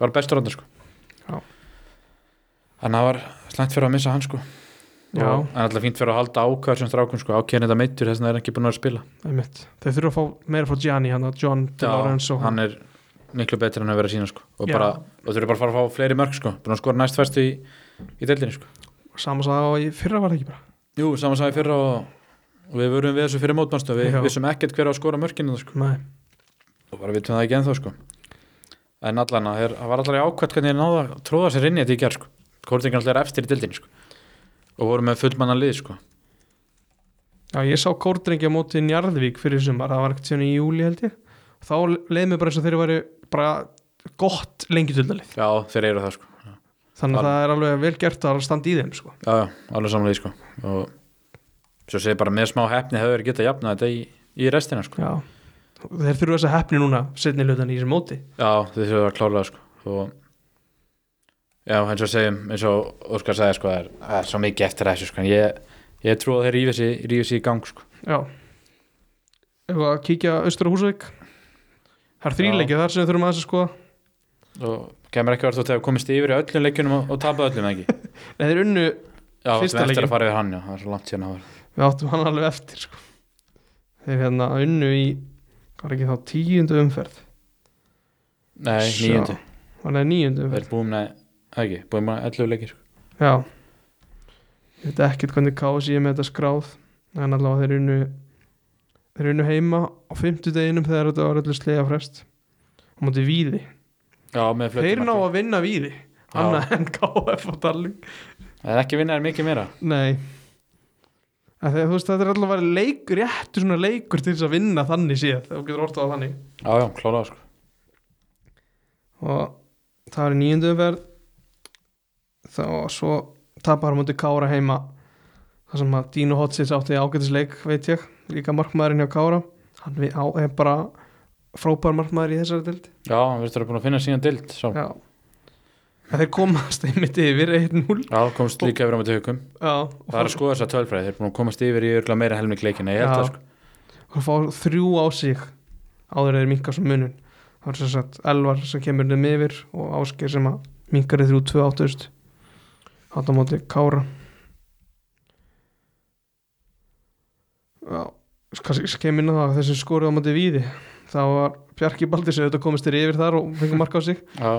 A: var bestur hann sko.
B: Já.
A: en það var slæmt fyrir að missa hann sko.
B: já,
A: og, en alltaf fínt fyrir að halda ákvæður sem strákum sko. ákvæðin þetta meittur þess að það er hann ekki búin að vera að spila
B: einmitt Þeir þurfa að fá meira frá Gianni, hann að John De Lorenzo
A: hann er miklu betur en að vera sína sko. og,
B: Já.
A: bara, og þurfi bara að fara að fá fleiri mörg sko. búin að skora næst fæstu í, í deildinni sko.
B: Saman sagði á í fyrra var það ekki bara
A: jú, saman sagði fyrra og, og við vorum við þessu fyrir mótmannstu við
B: Já.
A: vissum ekkert hver á að skora mörkinu sko.
B: Nei,
A: og bara vitum það ekki ennþá sko. en allan að þeir- það var allan ákvæmt hvernig þeir náða að tróða sér inn í þetta í gerð sko. Kórtingar alltaf er eftir í deildinni sko. og voru með fullmanna lið sko.
B: já, ég sá kórdrengja móti Njarðvík fyrir sumar, það var ekkert síðan í júli held ég Þá leið mér bara eins og þeir væri bara gott lengi tildalið
A: já, þeir eru það sko.
B: Þannig að
A: Al-
B: það er alveg vel gert að standa í þeim sko.
A: já, já, alveg samlega sko. og svo segir bara með smá hefni hefur þeir getað jafnað þetta í, í restina sko.
B: Já, þeir þurfa þess að hefni núna setni hlutan í þessu móti
A: Já, þið þurfum að klála það, sko og já, eins og segjum, eins og Óskar sagði sko, það er, það er svo mikið eftir að þessu sko en ég, ég trú að þeir rífi sér, rífi sér í gang sko.
B: Já Ef að kíkja austur á Húsavík Það er
A: Já.
B: þrýleikið þar sem við þurfum aðeins að skoða
A: og kemur ekki verið þú hefur komist yfir í öllum leikjunum og, og tapað öllum ekki Já,
B: Nei, þeir unnu,
A: við
B: Fyrsta
A: ætlum
B: leikinn.
A: að fara yfir hann, já, það er svo langt síðan að vera
B: við áttum hann alveg eftir sko. Þeir hérna unnu í hvað er ekki þá tíundu umferð
A: Nei,
B: Sjá.
A: nýjöndu,
B: Þannig að nýjöndu
A: við erum búin með, það ekki, búin með 11 leikir sko.
B: Já Ég veit ekkert hvernig kási ég með þetta skráð En allavega þeir unnu Þeir unnu heima á fimmtudeginum Þegar þetta var öllu slega frest Á móti víði
A: Já, með flötum
B: Þeir ná að vinna víði Annað en KF og Darling
A: Það er ekki vinnaðir mikið meira
B: Nei Af því að Þú veist þetta er allavega leikur Réttu svona leikur til þess að vinna þannig séð Þegar þú getur orðað á þannig
A: Já, já, klálega sko
B: og það er nýjöndu umferð þá svo tapar hann mútið Kára heima þar sem að Dino Hotsits átti ágætisleik veit ég, líka markmaðurinn hjá Kára hann við á, er bara frábær markmaður í þessari dild
A: Já, hann virtur að búin að finna síðan dild sá.
B: já en þeir komast einmitt yfir 1-0
A: Já, komst líka yfir á mæti haukum
B: já, og
A: Það er að skoða þess að tölfræði, þeir eru búin að komast yfir í örgulega meira helming leikina, ég held
B: Já.
A: það sko
B: og fá þrjú á sig áður en þeir minkar sem munun það er sem sagt Elvar sem kemur þeim yfir og Ásker sem að minkar þeir þrjú 2-8 hann á móti Kára já kannski sem kemur inn á það þessi skorið á móti Víði þá var Bjarki Baldis auðvitað komist þeir yfir þar og fengið mark á sig
A: Já,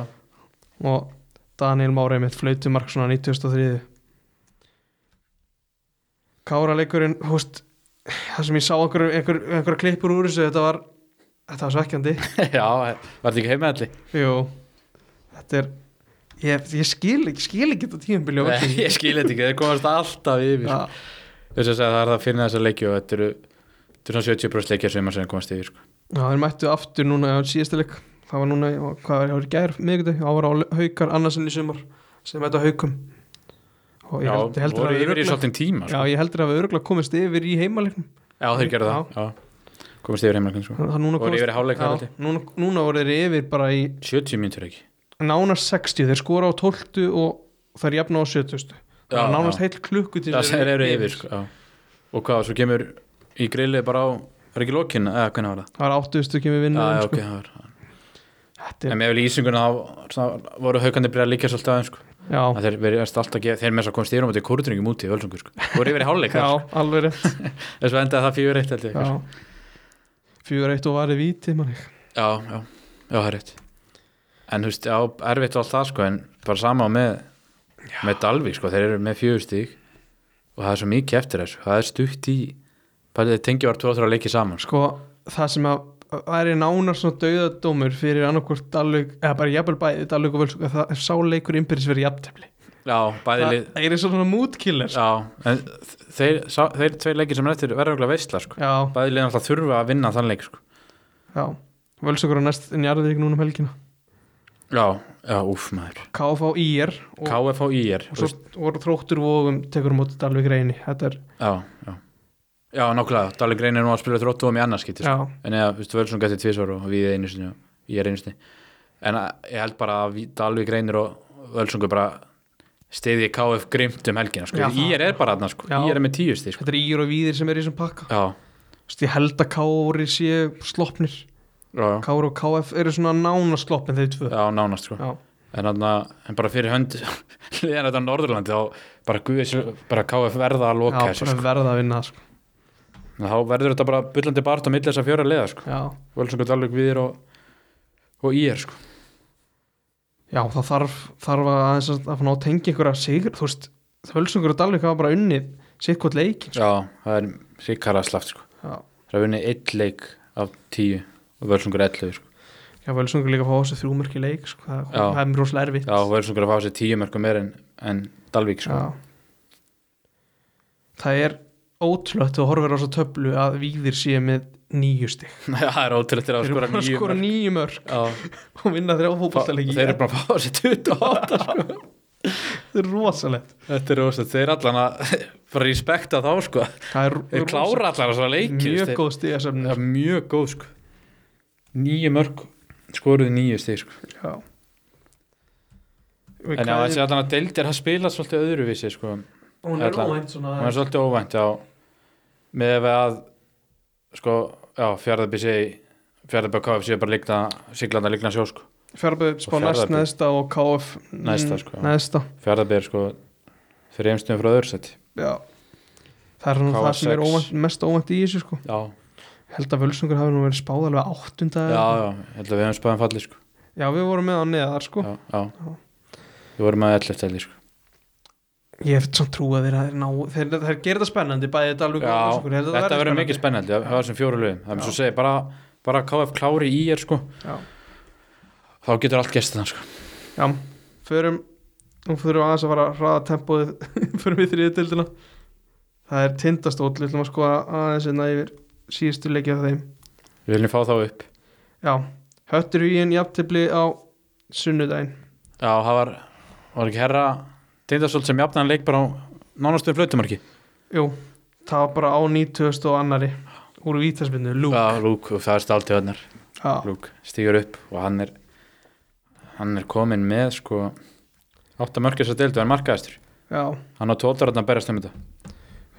B: og Daniel Márei mitt flautumark svona 93 Kára leikurinn húst, það sem ég sá einhver, einhver, einhver klippur úr þessu þetta var, þetta var svekkjandi
A: já var þetta ekki heimaðalli?
B: Jú, þetta er ég, ég skil ekki, skil ekki þetta tíðanbili á
A: Nei, ég skil þetta ekki, þeir komast alltaf yfir
B: ja,
A: Þess að segja, það er það að finna þessa leiki og þetta eru, þetta eru svona 70% leikja sem þeir komast yfir sko.
B: Já, þeir mættu aftur núna á síðasta leik það var núna, í- hvað var hjá gær, miðvikudag það var á haukar annarsinni sumar sem mættu á haukum og ég
A: Já,
B: held, ég heldur
A: voru
B: að
A: yfir í
B: öruglega,
A: svolítinn tíma
B: já,
A: sko.
B: ég heldur að við öruglega komist yfir í heimaleiknum
A: Já, þeir gerðu það já. Komast yfir heimleikin sko.
B: Það núna
A: Voru
B: komast-
A: yfir í hálfleik þar
B: Já,
A: held ég.
B: núna, núna voru þeir yfir bara í
A: 70 mínútur ekki
B: nánast 60 þeir skora á 12 og það er jafn á 70 það er
A: Já,
B: nánast
A: já.
B: heil klukku til
A: Það þeir eru yfir sko. já. Og hvað, svo kemur í grillið bara á Er ekki lokin, eða hvernig var það?
B: það er 80 kemur
A: Já,
B: vinna
A: já,
B: sko.
A: ok, það var
B: þetta
A: En
B: er,
A: með vel í ísinguna þá svona, voru haukandi byrjað að líka svolítið aðeins sko.
B: já,
A: Að Þeir verið alltaf að gefa, þeir með þess að komast yfir á móti kúrutringum úti í Völsungur sko. Voru yfir í hálfleik
B: já,
A: þar.
B: alveg rétt
A: Þess að endaði það fjögur eitt held ég. Já,
B: 4-1 og varði víti manni.
A: já, já, það er rétt. En þú veist, já, erfitt og allt það sko, en bara sama með, með Dalvík sko, þeir eru með fjögur stík og það er svo mikið eftir þessu. Það er stutt í, bara þeir tengi var tvo og þrjá leiki saman sko.
B: sko, það sem að væri nánast svona dauðadómur fyrir annarkvort dalug, eða bara jafnvel bæði dalug og völsug, það er sáleikur innbyrðis fyrir jafntefli,
A: Já, bæði
B: það
A: lið,
B: það er svona mútkiller sko.
A: já, en þeir, sá, þeir tveir leiki sem er eftir verða okkur veistla sko.
B: já,
A: Bæði lið alltaf þurfa að vinna þann leik sko.
B: já völsugur á næst njarðvík núna um helgina
A: Já, já, úf maður.
B: KF á IR og
A: KF og IR
B: og svo voru þróttur vóðum tekur um út Dalvik reyni þetta er,
A: Já, já Já, nákvæmlega, Dalí Grein er nú að spila þróttu um í annarskipti sko.
B: já,
A: En eða, þú veist, Völsson gæti tvisvar og við einu sinni og ég er einu sinni En að, ég held bara að Dalí Greinir og Völsson bara stiði KF grimt um helgina sko.
B: Já,
A: Í er bara þarna, sko.
B: Já.
A: í er með tíu stið sko.
B: þetta er ír og víðir sem er í þessum pakka
A: Já,
B: Vist, ég held að Kári sé sloppnir
A: já, já,
B: Kári og KF eru svona nána sloppin þeir tvö
A: já, nánast sko.
B: Já.
A: en, anna, en bara fyrir hönd liðan þetta á Norðurlandi þá bara, guðis, bara KF verða að loka
B: já,
A: þessu
B: bara
A: sko.
B: verða að vinna það, sko.
A: Þá verður þetta bara bullandi bart á milli þess að fjóra liða sko.
B: já.
A: Völsungur Dalvik viðir og, og IR sko.
B: já, það þarf, þarf að, aðeins að, að ná að tengja einhverja sigur þú veist, Völsungur og Dalvik hafa bara unnið sitt hvort leikin sko.
A: Já, það er sikkara slaft sko.
B: já.
A: Það er vunnið eitt leik af tíu og völsungur 11 sko.
B: já, Völsungur líka að fá á sig þrjúmörki leik sko. það,
A: Já.
B: það er mér rosalega erfitt
A: Já, völsungur að fá sér tíu mörgum meir en, en Dalvík sko.
B: Já. Það er ótrúlegt að horfa á svo töflu að víðir séu með nýju stig
A: það er sko ótrúlegt þegar að
B: Þeir eru
A: skora
B: bara að
A: nýju
B: skora
A: mörg
B: nýju mörg
A: Já,
B: og vinna þrjá
A: fá-
B: fótballtalegi
A: þeir eru bara að fá sér 28 sko.
B: Þetta er rosalegt
A: Þetta er rosa, þeir allan að bara respekta þá sko.
B: Það er
A: Þeir klára allan að svona leiki þú veist,
B: mjög
A: þeir-
B: góð stig að
A: Það er mjög góð sko. Nýju mörg skoruðu nýju stig sko.
B: Já
A: En já, þessi allan að deildir að spila svolítið öðruvísi sko.
B: Hún er
A: allan-
B: óvænt svona
A: Það er svolítið óvænt á með ef að sko, já, fjárðabbi sé fjárðabbi og KF sé bara líkna siglanda líkna sjó, sko.
B: Fjarböð spá
A: Og
B: næst
A: Fjarðabyggð.
B: neðsta og KF mm,
A: Næsta, sko, já.
B: Neðsta,
A: Fjárðabbi er sko fyrir einstuðum frá öðru seti.
B: já Það er svona
A: KF
B: það sem er
A: sex.
B: óvænt, mest óvænt í þessu sko
A: Já,
B: Ég Held að Völsungur hafi nú verið spáð alveg áttunda
A: já, já, ég held að við hefum spæðan fallið, sko.
B: já við vorum með á neðar sko
A: já, já. Við vorum að 11 stældi sko.
B: ég hef samt trú að þeir að þeir ná þeir, þeir gera þetta spennandi bæði þetta alveg
A: Já, þetta verður mikið spennandi Það var sem fjóru lögum, það er svo að segja bara, bara KF klári í er sko
B: já,
A: þá getur allt gerst þann sko
B: já, förum nú förum við aðeins að fara að hraða tempóið förum við þriðið dildina það er tindastóll, við ætlum að skoða aðeins enna yfir síðustu leikja þeim
A: Við viljum fá þá upp
B: já, höttur hugin jafntefli á sunnudaginn
A: Já, það var, var ekki herra Tindastóll sem jafnaðan leik bara á nánastu flautumarki
B: jú, það var bara á 90 og annari úr vítaspinnu, lú já,
A: Já, Lúk, og það er stáltið öðnar Lúk stígur upp og hann er hann er komin með sko átta mörkis að deildu, hann er markaðistur
B: já,
A: hann á tóldararna berjast um þetta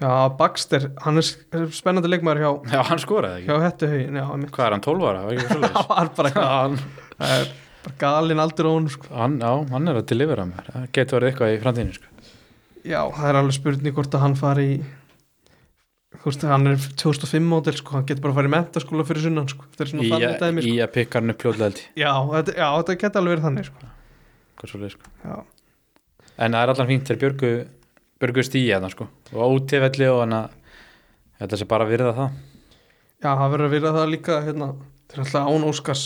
B: já, Baxter hann er s- spennandi leikmaður hjá
A: Já, hann skoraði ekki
B: hjá hættu hugin, já, einmitt.
A: Hvað er hann, 12 ára? Var ekki
B: Já,
A: svoleiðis?
B: hann bara
A: Já,
B: eitthvað
A: hann,
B: Það er bara galinn aldur og hún sko.
A: hann, já, hann er að delivera mér það getur verið eitthvað í framtíðinu sko.
B: Já, það er alveg spurning hvort að hann fari í Þú veist, hann er 2005 mótel sko, hann getur bara að fara í mentaskóla fyrir sunnan sko. Þetta er svona
A: í,
B: þannig dæmi sko.
A: í að pikka hann upp fljóðlega held ég.
B: Já, þetta, já, þetta getur alveg verið þannig sko.
A: Hvað svoleiðis, sko.
B: Já,
A: en það er allan fínt þegar björgu, björgu stíi hann sko. og útifelli og hann að þetta sé bara að virða það
B: já það verður að vera það líka hérna, þetta er alltaf án Óskars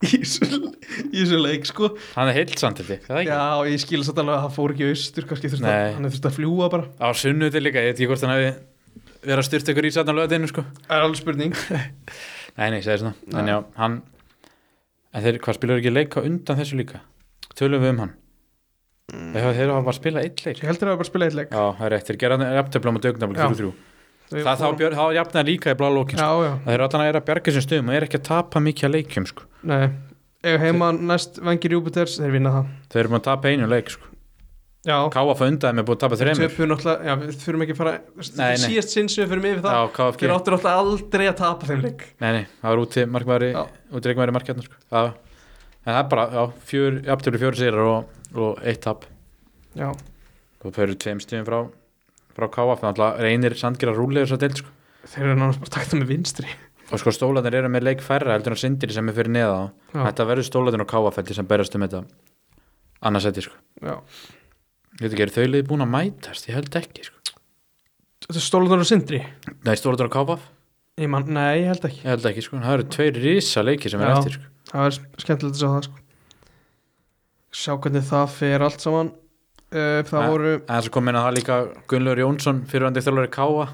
B: í þessu- í þessu leik sko.
A: hann er heilt samt held ég, er það ekki?
B: Já, ég skil satt alveg að það fór ekki í austur kannski þurfti að,
A: Nei.
B: hann þurfti að fljúa bara
A: á sunnuti líka, ég veit ekki hvort hann hafi verið að styrta ykkur í satna löðinu sko.
B: Það er alveg spurning
A: nei, nei, ég segi svona en
B: Nei.
A: já, hann en þeir, hvað spilur ekki leika undan þessu líka tölum við um hann
B: Mm.
A: þeir, þeir hafa bara spilað eitt leik
B: Ég heldur að það bara að spila eitt leik
A: Já, það er rétt, þeir gerðan er jafntöflum og dögnafli
B: Já.
A: 3-3. Það þá björ- þá jafnaði líka í blá lókin.
B: Já, já
A: Það er allan að er að bjarga þessum stöðum og er ekki að tapa mikið að leikjum sko.
B: Nei, ef heima næst vengir Júpiters, þeir vinna það
A: Þeir eru búin að tapa einu leik sko.
B: Já,
A: KF að undaði með búin að tapa þreimur.
B: töpu náttúrulega, já, við þurfum ekki að fara Þetta
A: Nei,
B: er
A: nei.
B: síðast sinn sem við fyrir mig yfir það
A: Já, KFG.
B: Þeir áttur náttúrulega aldrei að tapa þeim leik
A: Nei, nei, það var úti markmaður í,
B: Já.
A: úti reikmaður í markjarnar sko. Já. En það er bara, já, fjör, jafntöflu fjóru sigrar og, og eitt tap.
B: Já,
A: Og þau eru tveim stöðum frá, frá KF. Þannig að reynir sandgjara rúlega þess að deild sko.
B: þeir eru náttúrulega bara takta með vinstri
A: Og sko stólanir eru með leik færra heldur en sindir sem er fyrir neða á.
B: Já,
A: Þetta verður stólanir og KF heldur sem berjast um þetta annarsætti sko.
B: já
A: Ég veit ekki, eru þau liði búin að mætast? Ég held ekki, sko.
B: Þetta er Stólunar og Sindri
A: Nei, Stórður og Káfaf?
B: Ég man, nei, ég held ekki
A: Ég held ekki, sko. Það eru tveir risa leiki sem er
B: Já.
A: eftir, sko.
B: Það er skemmtilegt að sjá það sko Sjá hvernig það fer allt saman uh, Það
A: Ja.
B: voru,
A: En þess að kom inn að það líka Gunnlaur Jónsson, fyrirvændi þjálfari Káa.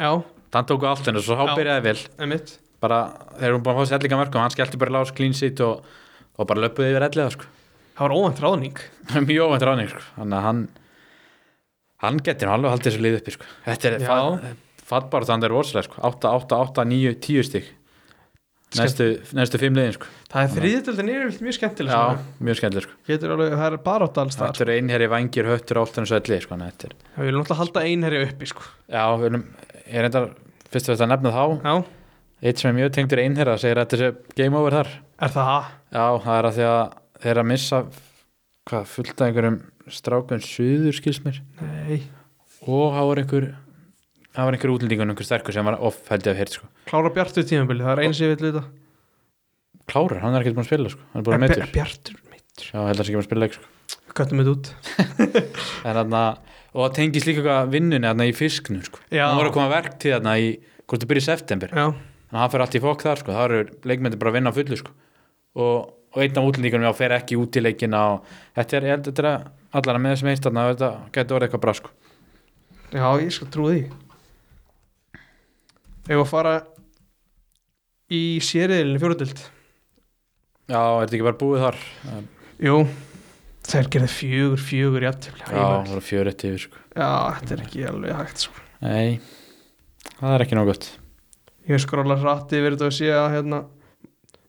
B: já,
A: Þann tóku allt hennar, svo
B: Já.
A: þá byrjaði vel.
B: emitt
A: Bara, þeir eru búin að fá sér ellinga verkum, hann skellti bara lás, clean seat og, og bara löpuði yfir elliða, sko.
B: Það var óvænt ráðning
A: Mjög óvænt ráning, sko. Þannig að hann, hann getur nú alveg haldið þessu lið uppi, sko. Þetta er
B: Já.
A: fa- fallbaráttan, þetta er rosaleg, sko. 8, 8, 8, 9, 10 stig. Næstu, næstu fimm liðin, sko.
B: Það er þriðjöldin er mjög skemmtileg
A: Já,
B: svona.
A: mjög skemmtileg, sko.
B: Getur alveg, það er barátt alls þar
A: Þetta er einherji vangir, höttur, áltan og svelli sko, þannig að þetta er,
B: Við viljum alltaf halda einherja uppi sko.
A: Já, við erum, ég er reyndar fyrst að þetta nefna þá,
B: Já,
A: eitt sem er mjög tengdur einherja segir að þetta sé game over þar
B: er það
A: Já, það er að því að þeir eru að missa hvað, fullt af einhverjum strákum suður skils mér
B: Nei,
A: og það var einhver það var einhver útlendingun, einhver sterkur sem var off held ég að heyrt sko.
B: klára bjartur tímabili, það er eins sem ég vil vita
A: Klárar, hann er ekkert búin að spila sko, hann er búin að
B: Er
A: meittur
B: Bjar- Bjartur, mittur
A: Já, held að sé ekki búin að spila leik sko.
B: Við köttum þetta út
A: en, anna, og það tengist líka eitthvað vinnunni anna, í fisknum sko.
B: Já.
A: hann voru að koma verktíð anna, í, hvort það byrja í september
B: Já,
A: þannig að hann fyrir allt í fokk þar sko. það eru leikmyndir bara að vinna á fullu sko. og, og einn af útlendingunum já, fer ekki út í leikina og þetta er, ég held að þetta er allan að með þessum einstarna þetta getur orðið eitthvað bra sko.
B: já, ég skal trú því Ef að fara í sériðilinu fjóruðild
A: já, er þetta ekki bara búið þar
B: Jú, þær gerði fjögur, fjögur jafntefli
A: já, það
B: Ævar.
A: var fjörett yfir sko.
B: já, þetta er ekki alveg hægt sko.
A: nei, það er ekki nóg gott
B: Ég skróla hratt yfir þetta og sé að hérna,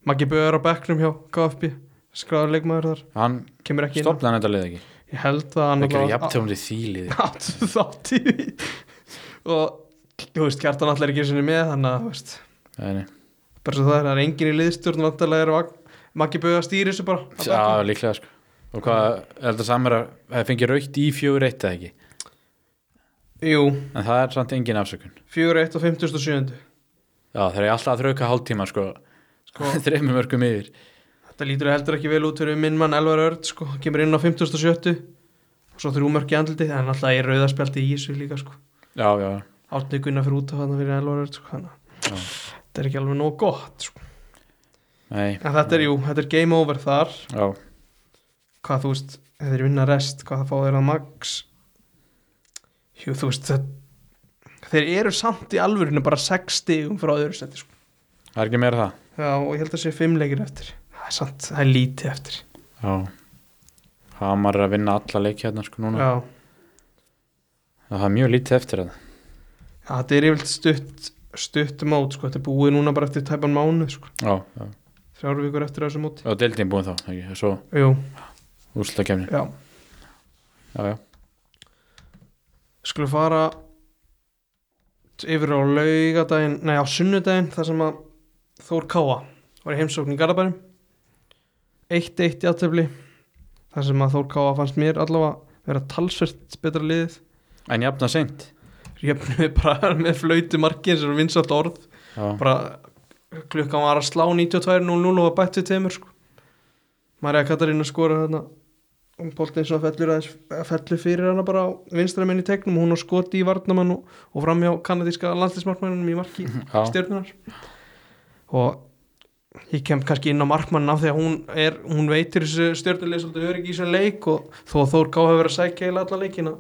B: Maggi Böður á bekknum hjá KFB skráður leikmaður þar,
A: hann
B: kemur ekki inn á.
A: stopnaði þetta lið ekki
B: Ég held að hann
A: það er
B: allavega-
A: jafntefnum til þýlið
B: áttu þátt í því og þú veist, Kjartan allir er ekki sinni með þannig að, þú veist, bara svo það er það er engin í liðstjórn vantarlega er vagn Maggi Böða stýri þessu bara að
A: já,
B: baka.
A: líklega sko. og hvað, er þetta samar að það fengi raukt í fjör eitt eða ekki
B: Jú,
A: en það er samt engin afsökun
B: 4-1 og 57
A: já, þeir eru alltaf að þrauka hálftíma sko,
B: sko,
A: þreymum örgum yfir
B: Þetta lítur heldur ekki vel út fyrir minn mann Elvar Örd sko, hann kemur inn á 50.70 og svo þrjú mörk í andliti, en alltaf er rauðarspjaldi í þessu líka sko.
A: já, já,
B: Átni Gunnar fyrir út af hann fyrir Elvar Örd sko, þannig
A: Já.
B: að þetta er ekki alveg nóg gott sko.
A: nei
B: En þetta er jú, þetta er game over þar
A: já,
B: hvað þú veist, ef þeir vinna rest hvað það fá þeir að max Jú, þú veist það, þeir eru samt í alvörinu bara 6 stigum frá öðru seti sko.
A: það er ekki meira það
B: Já, og ég held að sé 5 leikir eftir Það er samt, það er lítið eftir
A: já Hamar er að vinna alla leiki hérna sko núna
B: Já,
A: það er mjög lítið eftir það
B: Já, þetta er yfirlt stutt stutt mót, sko, þetta er búið núna bara eftir tæpan mánu, sko,
A: já, já,
B: þrjár vikur eftir af þessu móti
A: og deildin búin þá ekki, svo
B: Jú,
A: úrslutakefni
B: já,
A: já, já,
B: skulum fara yfir á laugadaginn, nei á sunnudaginn þar sem að Þór Káa var í heimsókn í Garabærum 1-1 í aðtöfli þar sem að Þór Káa fannst mér allavega vera talsvert betra liðið
A: en jafna seint
B: jöfnum bara með flöytu markið sem er vinsalt orð
A: já,
B: bara klukkan var að slá 92.00 og bætti tveimur sko. Marja Katarína skora þarna og Póltins fellur, aðeins- eh, fellur fyrir hana bara á vinstra minn í tegnum og hún á skoti í varnamann og, og framjá kanadíska landslísmarkmannum í marki
A: já,
B: stjörnunar og ég kem kannski inn á markmann af því að hún, er, hún veitir þessu stjörnuleg svolítið öryggi í þessum leik og þó að Þór Ká hefur verið að sækja í alla leikina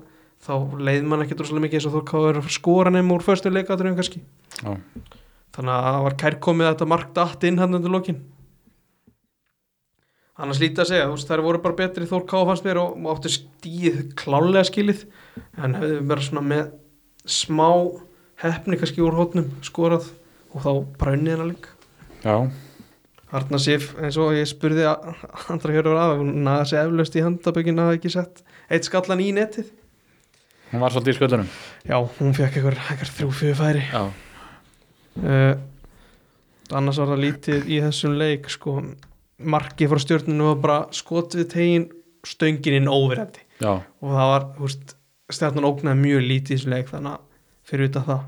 B: þá leið mann ekki droslega mikið eins og Þór Ká hefur verið að skora nefn úr föstu leikatröðum kannski
A: já,
B: þannig að það var kærkomið að þetta mark datt inn hann undir lokin annars lítið að segja, þú veist, þær voru bara betri Þór Ká fannst mér og, og áttu stíð klálega skilið, en hefðu bara svona með smá hefni kannski úr hótnum skorað og þá bara unnið hennar líka
A: já,
B: Arna Sif, eins og ég spurði a- andra hjörður af, hún naði sig eflaust í handabökin að hafa ekki sett eitt skallan í netið
A: hún var svolítið í sköldunum
B: já, hún fekk eitthvað, eitthvað þrjú fjöðu færi
A: já,
B: uh, annars var það lítið í þessum leik sko, markið frá stjórninu var bara skot við tegin stöngininn óverandi
A: já,
B: og það var, þú veist, stjarnan ógnaði mjög lítið í þessum leik þannig að fyrir utan það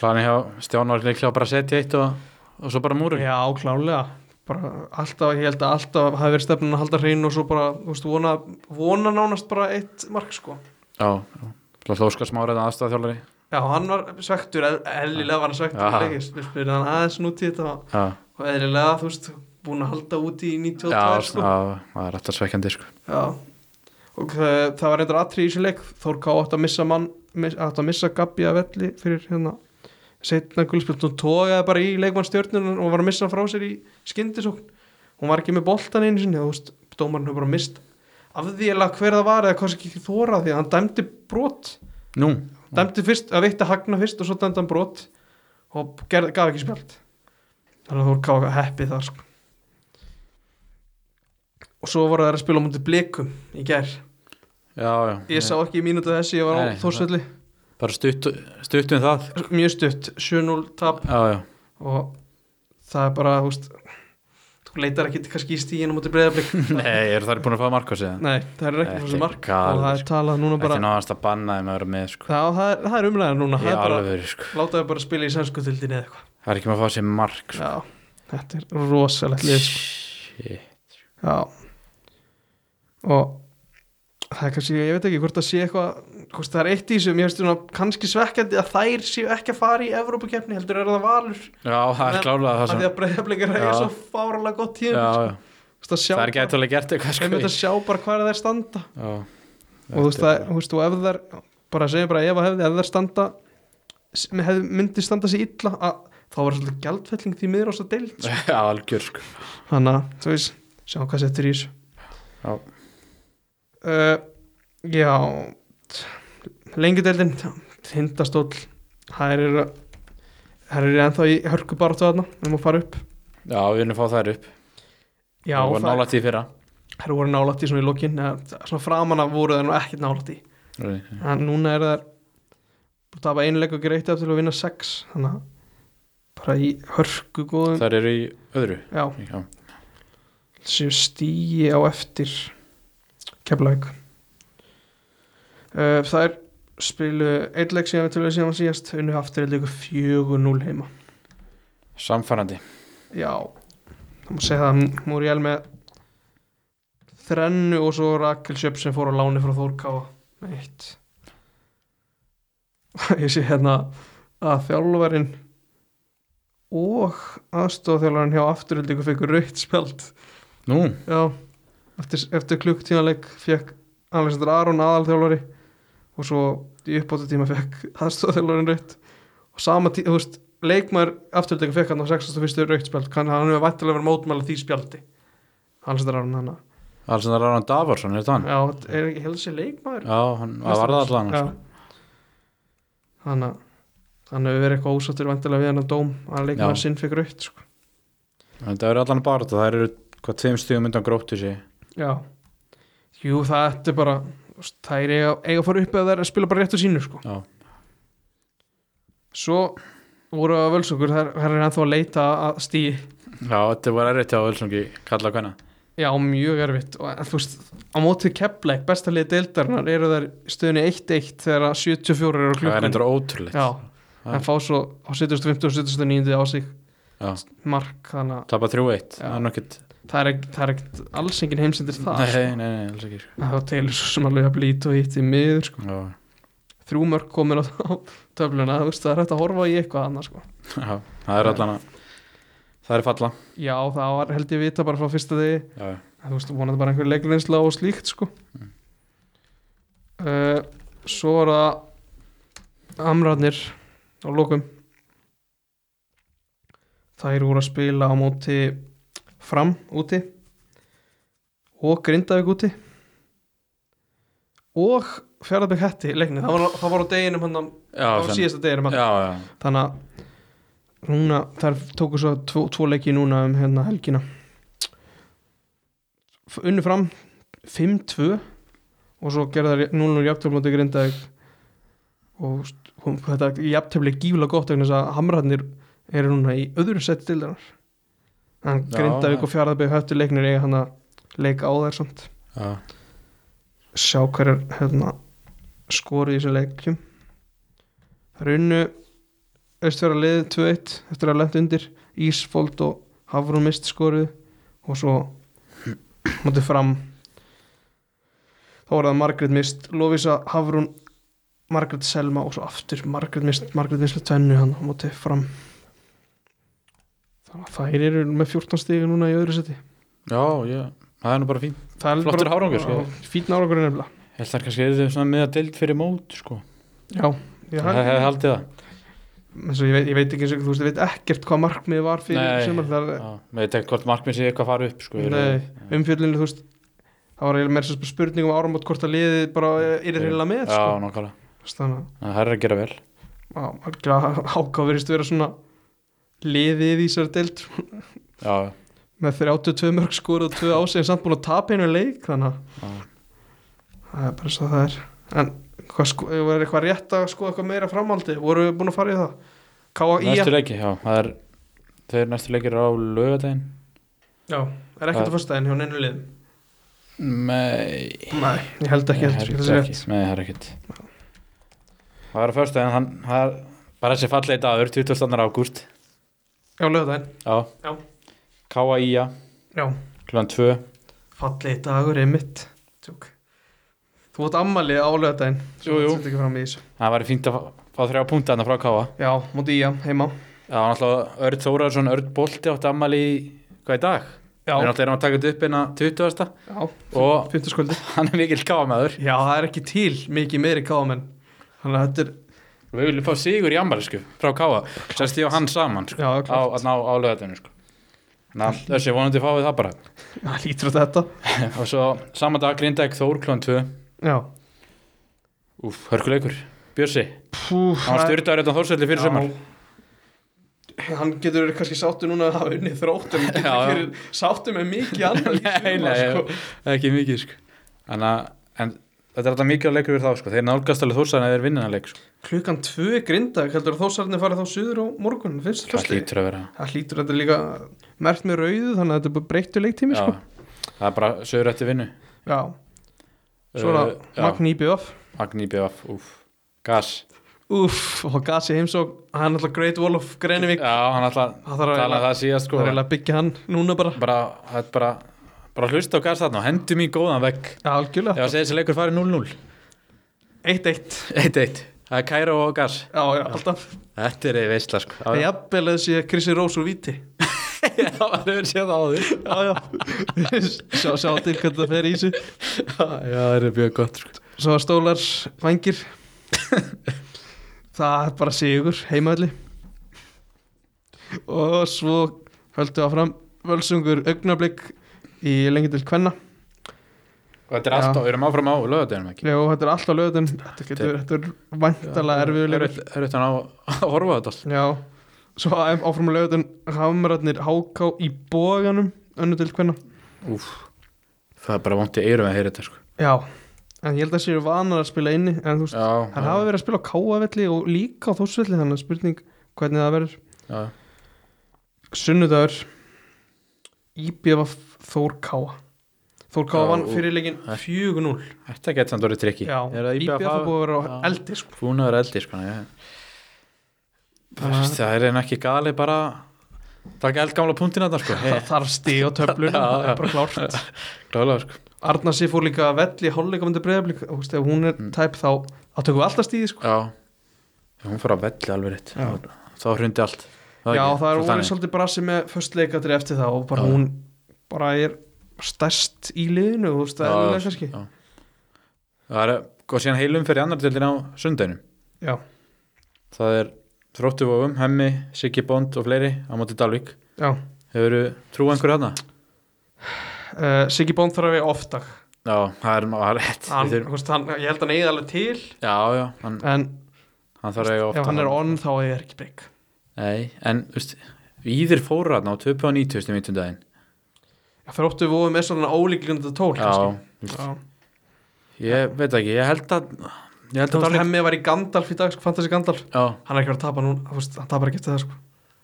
A: planið hjá Stján var líklega bara að setja eitt og, og svo bara múrun
B: já, klálega bara alltaf, ég held að alltaf hafi verið stefnun að halda hreinu og svo bara, þú veist, vona, vona nánast bara eitt mark sko
A: já, já, svo Óskar Smárið aðstæðaþjólari
B: já, hann var svektur, eð- eðlilega var hann svektur
A: Já.
B: í leikis, við spyrir hann aðeins nútið þetta og-
A: já,
B: og eðlilega, þú veist, búin að halda úti í
A: já,
B: 92 sko
A: já, það er alltaf svekkjandi sko
B: Já og það, það var reyndar aðtrið í þessu leik Þórká átt að missa mann miss, átt að missa Gabi að velli fyrir hérna setna guldspilt og tókaði bara í leikmann stjórnun og var að missa hann frá sér í skyndisókn hún var ekki með boltan einu sinni þú veist, dómarinn hefur bara mist afðéla hver það var eða hvað sem ekki þóra því að hann dæmdi brot
A: nú,
B: dæmdi fyrst, að veitti hagna fyrst og svo dæmdi hann brot og gerð, gaf ekki spjald þannig að þú voru káka heppið þar sko. og svo voru þær að spila á mútið blikum í gær,
A: já, já
B: ég sá ekki í mínútu þessi ég var
A: Nei,
B: á Þórsvelli,
A: bara stutt, stutt um það
B: mjög stutt 7-0 tap
A: já, já,
B: og það er bara þú veist, þú leitar ekki kannski í stíðin á mútið breiðablik
A: nei, eru það búin að fá markos eða
B: nei, það er ekki
A: Þetta
B: þessu
A: er
B: mark
A: galið,
B: og það er
A: sko.
B: talað núna bara
A: ekki náðast að banna þeim að vera með sko
B: það, það, er, það er umlæðan núna
A: í
B: það er bara,
A: alveg sko
B: látaðu bara spila í sænskutöldinni eða eitthvað
A: það er ekki maður að fá sér mark sko.
B: Já, þetta er rosalegt lið sko.
A: Shit.
B: Já og það er kannski, ég veit ekki hvort það sé eitthvað hvort það er eitt í sem ég veist svona kannski svekkjandi að þær séu ekki að fara í Evrópukeppni heldur er það valur
A: já, það er
B: En-
A: klálega það
B: að því
A: sem
B: að um breyðablikar er
A: Já.
B: svo fáralega gott
A: já,
B: tíð
A: já.
B: það
A: það er ekki eitthvað gert eitthvað
B: Ég
A: sko
B: myndi að sjá bara hvað þær standa
A: Já.
B: og þú veist það, þú veist, og ef þær bara segjum bara ef að hefði, ef þær standa s- hefði, myndi standa sér illa að, þá var svolítið gjaldfelling því miður á svo deild sko.
A: Já, algjör sko
B: þannig að, þú veist, sjá hvað settur í þessu
A: Já.
B: uh, Já Lengjudeldin Tindastóll Það eru Það eru ennþá í hörku baráttu þarna um að fara upp
A: Já, við erum að fá þær upp
B: Já,
A: Það var
B: það
A: nálægt í fyrra
B: það voru nálætt í svona í lokin eða svona framan af voru það nú ekkert nálætt í
A: Já,
B: en núna er það búið að tapa einleik og gera eitt af til að vinna sex þannig að bara í hörku góðum
A: Þær eru í öðru
B: Já,
A: Já,
B: séu stíi á eftir Keflavík uh, Það er spilu eitleik síðan við tölum síðan síðast unnu aftur eitleikur 4-0 heima
A: samfærandi
B: Já, það má segja það Múriel með þrennu og svo Rakel Sjöpp sem fór á láni frá Þórkáa með eitt ég sé hérna að þjálfarinn og aðstofþjálfarinn hjá afturöldingu fengur rautt spjald
A: Nú,
B: Já, eftir, eftir klukktímanleik fekk Alexander Aron aðalþjálfari og svo í uppbóta tíma fekk aðstofþjálfarin rautt og sama tíma, þú veist, leikmaður afturlega fekk hann á 61. rautt spjald kann hann hefur vantilega verið mótmæla því spjaldi Alexander Aron hann að-
A: Alexander Aron Davarsson, er þetta hann?
B: Já, er ekki heldur sér leikmaður?
A: Já, hann það var það allan sko.
B: Já. Hann að hann hefur verið eitthvað ósattur vantilega við hann að dóm að leikmaður
A: Já.
B: sinn fekk rautt sko.
A: Það eru allan bara það eru hvað tveim stíðum undan gróttu sig
B: Já Jú, það ertu bara þú veist, það er eiga, eiga að fara upp eða það er að spila bara réttu sínu sko.
A: Já.
B: Svo voru að völsungur þar þar er ennþá að leita að stíi
A: Já, þetta var erfitt hjá Ölsungi kalla hvenna
B: Já, mjög erfitt og en þú veist, á mótið keppleik, besta liðið deildarinnar eru þær í stöðunni 1-1 þegar að 74 eru á
A: Það er
B: klukkun
A: endur ótrúlegt
B: Já,
A: Það-
B: en fá svo á 75 og 79 á sig
A: Já.
B: mark, þannig
A: Tapa 3-1,
B: Já.
A: það er nokkert
B: að það er ekkert- það er ekkert alls engin heimsendir það
A: Nei, nei, nei, alls ekki sko.
B: Það var telur svo sem alveg að blít og hitt í miður sko.
A: Já,
B: þrjú mörg komin á á töfluna þú veist, það er hægt að horfa í eitthvað annað sko.
A: já, það er allan að Það er falla
B: já, það var held ég vita bara frá fyrsta degi
A: Já, já.
B: En þú veist, vonandi bara einhver leikleinsla og slíkt sko. uh, svo er það amrarnir á lokum þær voru að spila á móti fram úti og grindavík úti og fjaraðbygg hætti leikni, það var, það var á deginum hann
A: já,
B: á
A: sem-
B: síðasta deginum hann
A: já, já,
B: þannig að núna, þær tóku svo tvo, tvo leiki núna um hérna helgina F- unnu fram 5-2 og svo gerði þær 0-0 jafntöfl mútið grindaðið og st- kom- þetta jafntöfli gífulega gott vegna þess að hamrarnir eru núna í öðru seti til þar en
A: Já,
B: grindaðið
A: já.
B: og fjaraðbygg höftu leiknir eiga hann að leika á þær samt
A: já
B: sjá hver er hérna, skorið í þessu leikjum það er unnu austfjara liðið 2-1 eftir að hafa lent undir Ísfold og Hafrún mist skorið og svo mútið fram þá var það Margrét mist Lovisa Hafrún Margrét Selma og svo aftur Margrét mist Margrét mist með tvennu hann á mútið fram þannig að þær eru með 14 stíði núna í öðru seti
A: Já, já, það er nú bara fín
B: Það er
A: Flottur
B: bara-
A: árangur, sko.
B: fínn árangur er nefnilega
A: Ég held þar kannski er þetta svona með að deild fyrir mót sko.
B: já, ég
A: Það hefði haldið það
B: eins og ég veit, ég veit ekki eins og þú veist, ég veit ekkert hvað markmið var fyrir
A: Nei,
B: sumar þar
A: Já, með þetta hvort markmið sé eitthvað að fara upp sko,
B: Nei. umfjöllinu, þú veist það var eiginlega meira svo spurning um áramót hvort að liðið bara er reyla með
A: Já,
B: sko.
A: nákvæmlega,
B: Þú veist, þannig
A: það er að gera vel
B: að ákáverist vera svona liðið í þessari deild
A: Já,
B: með 32 mörg skor og 2 ásegin samt búin að tapa einu leik þannig
A: Já.
B: að það er bara svo það er en hvað sko, var eitthvað rétt að sko eitthvað meira framhaldi, voru við búin að fara í það Káa í
A: næstu leiki, já, það er Þeir næstu leikir á lögadaginn
B: já, það er ekkert að fyrsta en hjá neinu liðum
A: Nei,
B: Nei, ég held ekki
A: Nei,
B: heldur, ég held
A: það
B: að sé
A: er
B: rétt.
A: ekki, Nei, það er ekkert Það er að fyrsta en hann, það er bara þessi fallegi dagur, 22. ágúst
B: Já, lögðaðinn,
A: Já,
B: Já.
A: K.A.I.A.
B: já,
A: klukkan 2
B: fallið dagur er mitt Tjók. Þú átt ammalið á lögðaðinn
A: Jú, jú.
B: Sett ekki fram í þessu
A: Það væri fínt að fá- fá þrjá punta þarna frá K.A.
B: Já, móti í að heima
A: Já, náttúrulega Örd Þóraðsson, Örd Bolti átti ammali í, hvað í dag?
B: Já,
A: Við náttúrulega erum að taka þetta upp innan 20.
B: já,
A: og
B: fymtaskvöldi
A: hann er mikill kámaður
B: Já, það er ekki til mikið meiri káðamenn Þannig að þetta er,
A: Við viljum fá sigur í ammali, sko, frá K.A. Sérst ég og hann saman, sko,
B: já, það er
A: á,
B: klart
A: á, á lögadaginu, sko Ná, þessi vonandi fáið það bara
B: Það lítur á þetta
A: og svo saman dag Grindæk Þór klukkan 2
B: Já,
A: Úf, hörkuleikur, Björsi
B: pú
A: Hann var styrtaður þetta þórsvelli fyrir sumar
B: Hann getur verið kannski sáttu núna að hafa unnið þrótt en hann getur
A: Já, já.
B: ekki verið sáttu með mikið annað í
A: Nei,
B: sumar,
A: nei,
B: sko.
A: ekki mikið sko. en, að, en þetta er alltaf mikið að leikur við þá sko. þeir nálgast alveg þórsæðan eða þeir vinna að leik sko.
B: Klukkan tvö grinda, heldur þú að þósarni farið þá suður á morgun, finnst
A: það hlýtur að vera
B: Það hlýtur þetta líka mert með rauðu þannig að þetta er bara breyttu leiktími
A: já,
B: sko.
A: það er bara sögur eftir vinnu
B: Já, svo er það
A: uh,
B: Magni IBF
A: Magníbjöf, úf, gas
B: Úff, og Gassi heimsók Hann er alltaf Great Wall of Greinivik
A: Já, hann alltaf
B: Það þarf
A: talaði
B: eiginlega-
A: það síðast
B: það
A: sko
B: er eiginlega að byggja hann núna bara
A: bara, það er bara, bara hlusta á gasta þarna og hendum í góðan vegg
B: Já,
A: Ég var
B: algjörlega
A: að segja þessi leikur farið 0-0
B: 1-1
A: 1-1 Það er Kæra og Gas
B: Já, já, alltaf
A: Þetta er eða veistla sko Já,
B: Það er jafnvel að þessi Krissi Rós úr viti
A: það var hefur séð það á því
B: Já, já Sjá, sjá til hvernig það fer í þessu
A: Já, það er mjög gott sko
B: Svo stólar vangir Það er bara sigur heimaðli Og svo höldu áfram Völsungur augnablík í lengi til kvenna
A: Og þetta er
B: Já.
A: alltaf, við erum áfram á lögadeginum ekki
B: og þetta er alltaf löðum Þetta getur, þetta er væntalega erfiðulegur
A: Það er þetta á að horfa á þetta allt
B: Já, svo á- áfram að lögutin Hamrarnir háká í bóganum önnu til hvenna
A: Það er bara vont í eyrum að heyra þetta sko
B: Já, en ég held að það séu vanar að spila inni en þú veist,
A: Já,
B: hann hafa verið að spila á káavelli og líka á þósvelli þannig að spurning hvernig það verður
A: já.
B: Sunnudagur Íbjöf Þór Káa Þór Káa
A: Já,
B: vann
A: og-
B: fyrir leikin 4-0
A: Þetta getur samt orðið trikki
B: Já, Íbjöf það búið að vera á
A: Já.
B: eldi sko.
A: Búin að vera eldi sko ég...
B: Bara-
A: Það er en ekki gali bara Takk eldgamla punktina þarna sko
B: Það þarf stig á töflun,
A: Já,
B: það
A: já.
B: er bara klárt
A: Klálega sko
B: Arna sér fór líka að velli í hálfleika vandu breyðablík, þú veist, ef hún
A: Mm.
B: er tæp þá þá tökum við alltaf stíði sko
A: Já, Já, hún fór að velli alveg rétt
B: Já.
A: Þá- Þá hrundi allt
B: Já, það er
A: Svo
B: orðið
A: þannig.
B: svolítið brasi með föstleikatri eftir það og bara
A: Já.
B: hún bara er stærst í liðinu, þú
A: Já,
B: veist, það er
A: já,
B: kannski
A: já. Það er góð síðan heilum fyrir annar dildin á sundinu
B: Já,
A: Það er Þróttuvogum, Hemmi, Siggi Bond og fleiri á móti Dalvík
B: já
A: Hefur trú einhverju hana?
B: Uh, Siggi Bond þarf að við ofta
A: Já, það er maður rétt
B: hann,
A: Við þurfum-
B: þú veist, hann, ég held að hann eigi alveg til
A: Já, já, hann,
B: en
A: hann þarf að eiga ofta
B: ef hann er onn þá er ekki breyk
A: Nei, en þú veist, Íðir fóru hann á um 2.90 í myndundaginn
B: fyrir óttu við ofum er svona ólíklunda tól
A: Já,
B: kannski. Já.
A: ég veit ekki, ég held að Ég held
B: Þú
A: að
B: veist,
A: Dalvík
B: um hemmi var í Gandalf í dag, sko, fantasy Gandalf
A: Já,
B: hann er ekki að fara að tapa núna, þú veist, hann tapar ekki eftir það sko.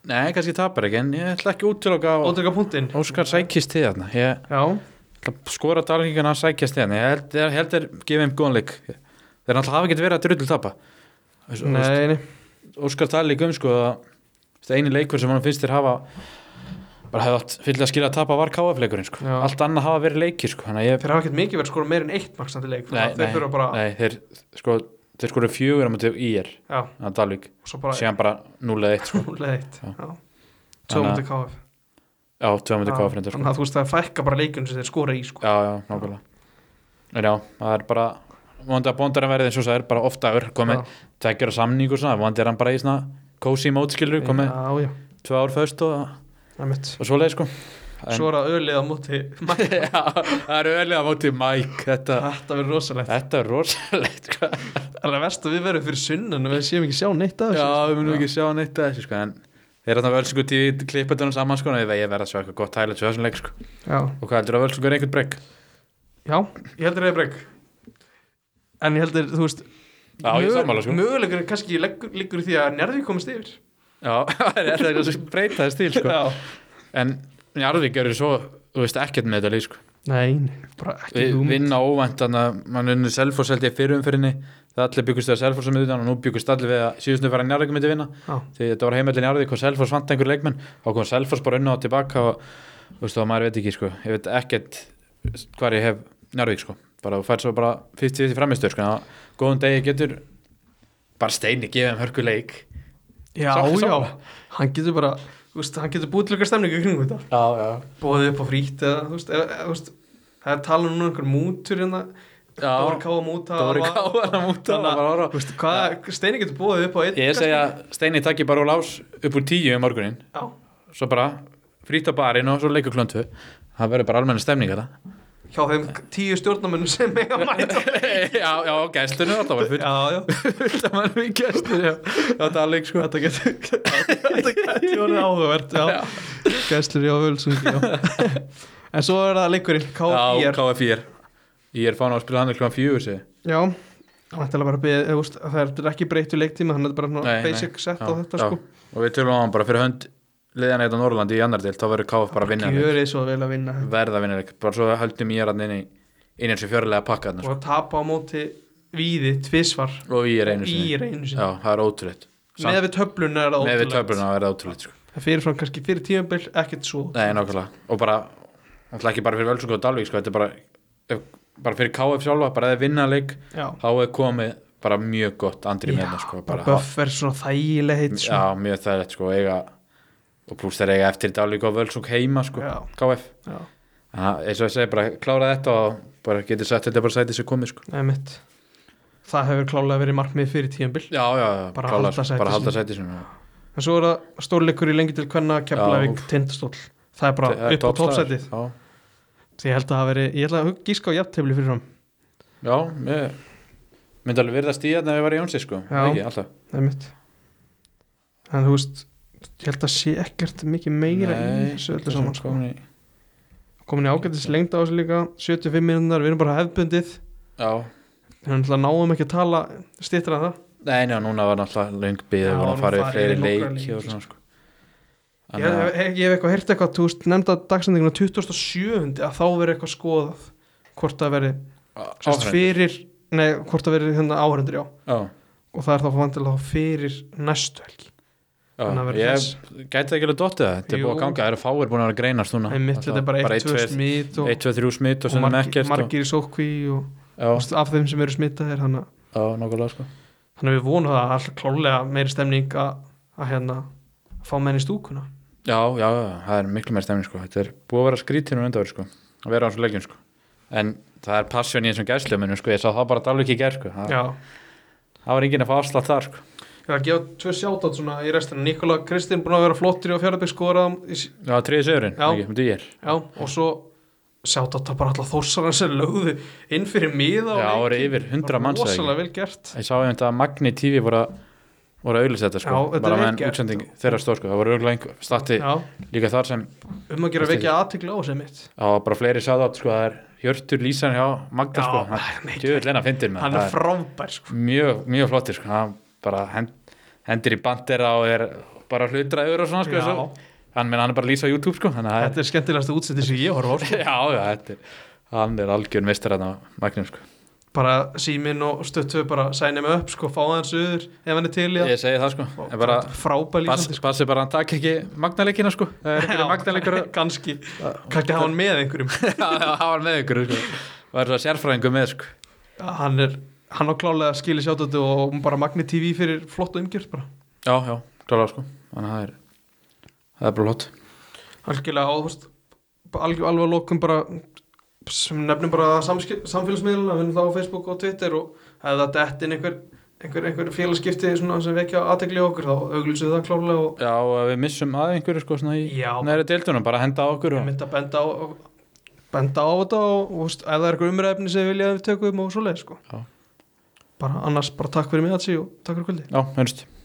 A: nei, kannski tapar ekki en ég ætla ekki út til okkar
B: ótrykka punktinn
A: Óskar sækist til þarna Ég
B: Já,
A: ætla að skora dalvíkina að sækjast til þarna Ég held, ég held er gefið um góðan leik Þeir náttúrulega hafa ekki verið að drull tapa Þú veist,
B: nei, nei
A: Óskar tali líka um sko að þetta eini leikur sem hann finnst þér hafa bara hefði allt fyllt að skilja að tapa var KF leikurinn sko
B: Já.
A: Allt annað hafa verið leikir sko Þannig að ég
B: þeir hafa ekkert mikið verið skora meir en eitt maksandi leik
A: Nei,
B: þeir fyrir bara,
A: Nei, þeir sko Þeir skoru fjögur á mútið í er
B: já,
A: að Dalvík
B: og svo bara
A: Síðan bara 0-1 sko
B: Núlega eitt
A: Já. Þannig að-
B: Tjómundi KF
A: Já, tvö mútið KF
B: Já,
A: reyndir sko
B: Þannig að þú veist það er fækka bara leikjum sem þeir skora í sko.
A: Já, já, nákvæmlega En já, það er bara Vonandi að bóndar að verði eins og það er bara ofta ör komið tveggjara samning og svona, vandi er hann bara í svona cozy mode skilur, komið
B: Já, já,
A: tvö ár föst og,
B: það mitt
A: og svoleið sko En-
B: Svo er það ölið á móti Mæ,
A: Já, það er öðlega móti Mike, þetta
B: Þetta verður rosalegt
A: Þetta er rosalegt sko.
B: Það er verst að við verðum fyrir sunnan og við séum ekki sjá neitt af
A: Já,
B: þessu
A: við munum ekki sjá neitt að þessu sko, en þeir eru þarna völsungu tíð klippatunum saman sko, en ég veit ég verða að sjá eitthvað gott hægilegt svo þessum leik sko.
B: já.
A: Og hvað heldur að völsungu er einhvern bregg?
B: já, ég heldur það er breg En ég heldur, þú veist
A: Já, ég er sammála, sko.
B: Mögulegur kannski leggur, liggur í því að Njarðvík komist yfir
A: Já, það er eitthvað sem breyta þess til sko.
B: Já
A: En Njarðvík eru svo, þú veist, ekkert með þetta lið sko.
B: Nei, nei, bara ekki
A: Við
B: hugmynd.
A: vinna óvænt, þannig að mann unnu Selfoss held ég fyrir umfyrinni, það allir byggust við að Selfoss um utan og nú byggust allir við að síðustu fara Njarðvík myndi vinna.
B: Já.
A: Þegar þetta var heimellin í Arðvík og Selfoss vant einhver leikmenn og kom Selfoss bara unna og tilbaka og þú veist það maður veit ekki sko ég veit ekkert hvar ég hef Njárvík sko bara þú fær svo bara 50-50 framistur sko en á góðum degi getur bara steini gefið um hörku leik
B: Já,
A: Sá-
B: já,
A: sammála.
B: hann getur bara þú veist, Hann getur búið til okkar stemningu í kringum þetta
A: Já, já
B: bóðið upp á frýtt eða þú veist, eða, eða, þú veist það er talað um núna einhver mútur hérna
A: Já.
B: Dóri Ká að múta
A: Það voru
B: Alva-
A: káðan að múta það bara ára
B: Þú veist, hvað, Steini getur bóðið upp á einn
A: Ég segja steini takki bara úr lás upp úr 10 um morgunin
B: Já,
A: svo bara frýtt á barinn og svo leikur klöntu það verður bara almenna stemning þetta
B: hjá þeim tíu stjórnamönnum sem mega mæta
A: Já, já, gæstunni alltaf var fullt
B: Já, já,
A: Þetta var við gæstunni Já, þetta er alveg sko
B: þetta getur þetta getur orðið áhugavert Já, gæslur já, völsungi já En svo er það leikurinn,
A: Já,
B: KFIR
A: KFIR Ég er fána að spila hann klokkan fjögur sig
B: Já, það er bara beðið, eða, þú veist, það er ekki breytu leiktíma þannig að þetta er bara svona
A: Nei, nei.
B: basic set á
A: Já,
B: þetta
A: já.
B: sko
A: Og við tölum á hann bara fyrir hönd liðan eitt á Norrlandi í annar del þá verður KF bara að vinna hérna. hann
B: Gjörið svo vel að vinna þetta
A: hérna. verða að vinna hann bara svo höldum ég hann inn í inn eins og fjörlega pakka hann
B: og að tapa á móti víði tvisvar
A: og ég er einu
B: í
A: sinni
B: reynu sinni
A: já, það er ótrúleitt
B: með við töfluna er það
A: með við
B: ótrúlegt.
A: töfluna er það ótrúleitt sko.
B: það fyrir frá kannski fyrir tímabil ekkert svo
A: nei, nákvæmlega, og bara náttúrulega ekki bara fyrir Völsungu og Dalvík sko, þetta er bara, ef- bara fyrir KF sjálfa bara eða vinna leik,
B: já,
A: þá er komið bara mjög gott andri
B: Já,
A: með það sko,
B: bara
A: bara,
B: buff er svona þægilegt svona.
A: já, mjög það sko, eiga, og pluss þeir eiga eftir Dalvík og Völsung heima sko,
B: Já.
A: KF
B: já,
A: Aha, eins og ég segi, bara klára þetta og bara getið sagt þetta er bara sætið sem komið sko.
B: einmitt það hefur klálega verið markmið fyrir tímabil
A: já, já, já,
B: Bara
A: klára,
B: halda sæti
A: bara halda
B: sínu.
A: sætið sinni
B: en svo er það stórleikur í lengi til hvernig Keflavík
A: Já. eh,
B: tindastól það er bara
A: Það er
B: upp á
A: toppstaður.
B: toppsætið
A: já,
B: ég held að það veri, ég held að gíska á jafntefli fyrir hann
A: já ég myndi alveg virðast í þetta ef ég var í Jónsi sko,
B: Já.
A: ekki, alltaf
B: einmitt en þú veist, ég held að sé ekkert mikið meira í þessu öllu saman sko.
A: komin í,
B: komin í ágætis lengda á þessu líka 75 minúnar, við erum bara hefbundið
A: já,
B: þannig að náum ekki að tala stýttir að það
A: nei, já, núna var náttúrulega löng bíð
B: Já,
A: og hann
B: nú
A: farið í
B: farið
A: fleiri
B: í nokkra
A: leiki og
B: leiki,
A: svona sko
B: ég, hef- hef- ég hef eitthvað heyrt eitthvað, þú veist, nefnda dagsendinguna 27. að þá veri eitthvað skoðað hvort það veri sérst,
A: áhrænd
B: fyrir, nei, hvort það veri hérna áhrendur, já,
A: já,
B: og það er þá vantilega þá fyrir næstu helgi Þannig að
A: já,
B: verður
A: ég
B: þess.
A: gæti ekki alveg dottið það, þetta er
B: Jú.
A: búið að ganga það eru fáir búin að vera að greinast núna
B: einmitt, þetta er bara 1-2 smitt og,
A: 1-2-3 smitt og
B: og
A: sem
B: margir,
A: ekkert og-
B: margir í sókví og
A: já,
B: Þú veist, af þeim sem eru smitaðir þannig að-
A: já, nákvæmlega sko
B: þannig að við vonum það að alltaf klálega meiri stemning að, að hérna fá menn í stúkuna
A: Já, já, já, það er miklu meir stemning sko. Þetta er búið að vera skrítinu undanverð sko. að vera á þessu leikjum sko. en það er passjón í þessum gæstljóminu sko. ég sá það bara alveg ekki í gær sko. það,
B: já,
A: það var enginn að fá afslátt þar sko.
B: ég var að gefa tvö sjátátt svona í restina, Nikola Kristinn búin að vera flottir og fjárðarbygg skorað í s-
A: Já, triði sögurinn,
B: Já.
A: ekki, um dýr
B: já, og svo sjátátt að bara alltaf þósarna sem lögðu inn fyrir miða og
A: Já, það
B: leikinn.
A: voru yfir 100 manns eða
B: rosalega vel gert
A: ekki. Ég sá einhvern veginn að Magni TV voru að voru að auðlýsa þetta sko.
B: Já, þetta er
A: bara
B: vel
A: meðan
B: gert.
A: útsending þeirra stóð sko. það voru auðvitað einhver stati
B: já,
A: líka þar sem
B: um að gera vekja aðtegla á sem mitt
A: á bara fleiri sáðátt sko. það er Hjörtur Lísan hjá Magda
B: Já,
A: sko.
B: nei,
A: hann djöfull er að fyndin maður.
B: hann
A: Það
B: er frábær sko.
A: mjög, mjög flottir sko. hann bara hend, hendir í bandera og er bara hlutraður og svona sko,
B: Já.
A: svo. hann, menn, hann er bara að lýsa á YouTube sko, þannig að
B: þetta er skemmtilegasta útsendi sem ég horfa á sko.
A: það er já, já, þetta er, hann er algjör mistar hann á Magnum sko.
B: bara síminn og stöttu bara sæna mig upp sko, fá hans öður ef hann er til í það
A: ég segi það sko
B: Og
A: en bara
B: þetta er frábær
A: Bass,
B: lýsandi sko.
A: bassi bara að hann takk ekki magnaleikina sko það er ekki magnaleikar að-
B: kannski, kannski hafa hann með einhverjum
A: Já, já, hann var með ykkur sko. og er svo sérfræðingu með sko
B: hann er, hann á klálega að skilja sjátötu og bara Magni TV fyrir flott og umgjört bara,
A: já, já, klára sko þannig að það er það er bara hlut
B: algjörlega áhust algjör alveg að lokum bara sem nefnum bara samskip, samfélagsmiðluna við erum þá á Facebook og Twitter og hefði það dett inn einhver, einhver, einhver félagskipti svona sem vekja aðtegli okkur þá auglýsum við það klálega og
A: já, og ef við missum að einhverju sko svona í
B: Já.
A: næri deildunum bara henda á okkur
B: ég
A: og...
B: myndi að benda á benda á þetta og, og veist, ef það er eitthvað umræfni sem við vilja að við tökum og svoleið sko.
A: Já.
B: bara annars bara takk fyrir mig að og takk fyrir kvöldi
A: já, hörnst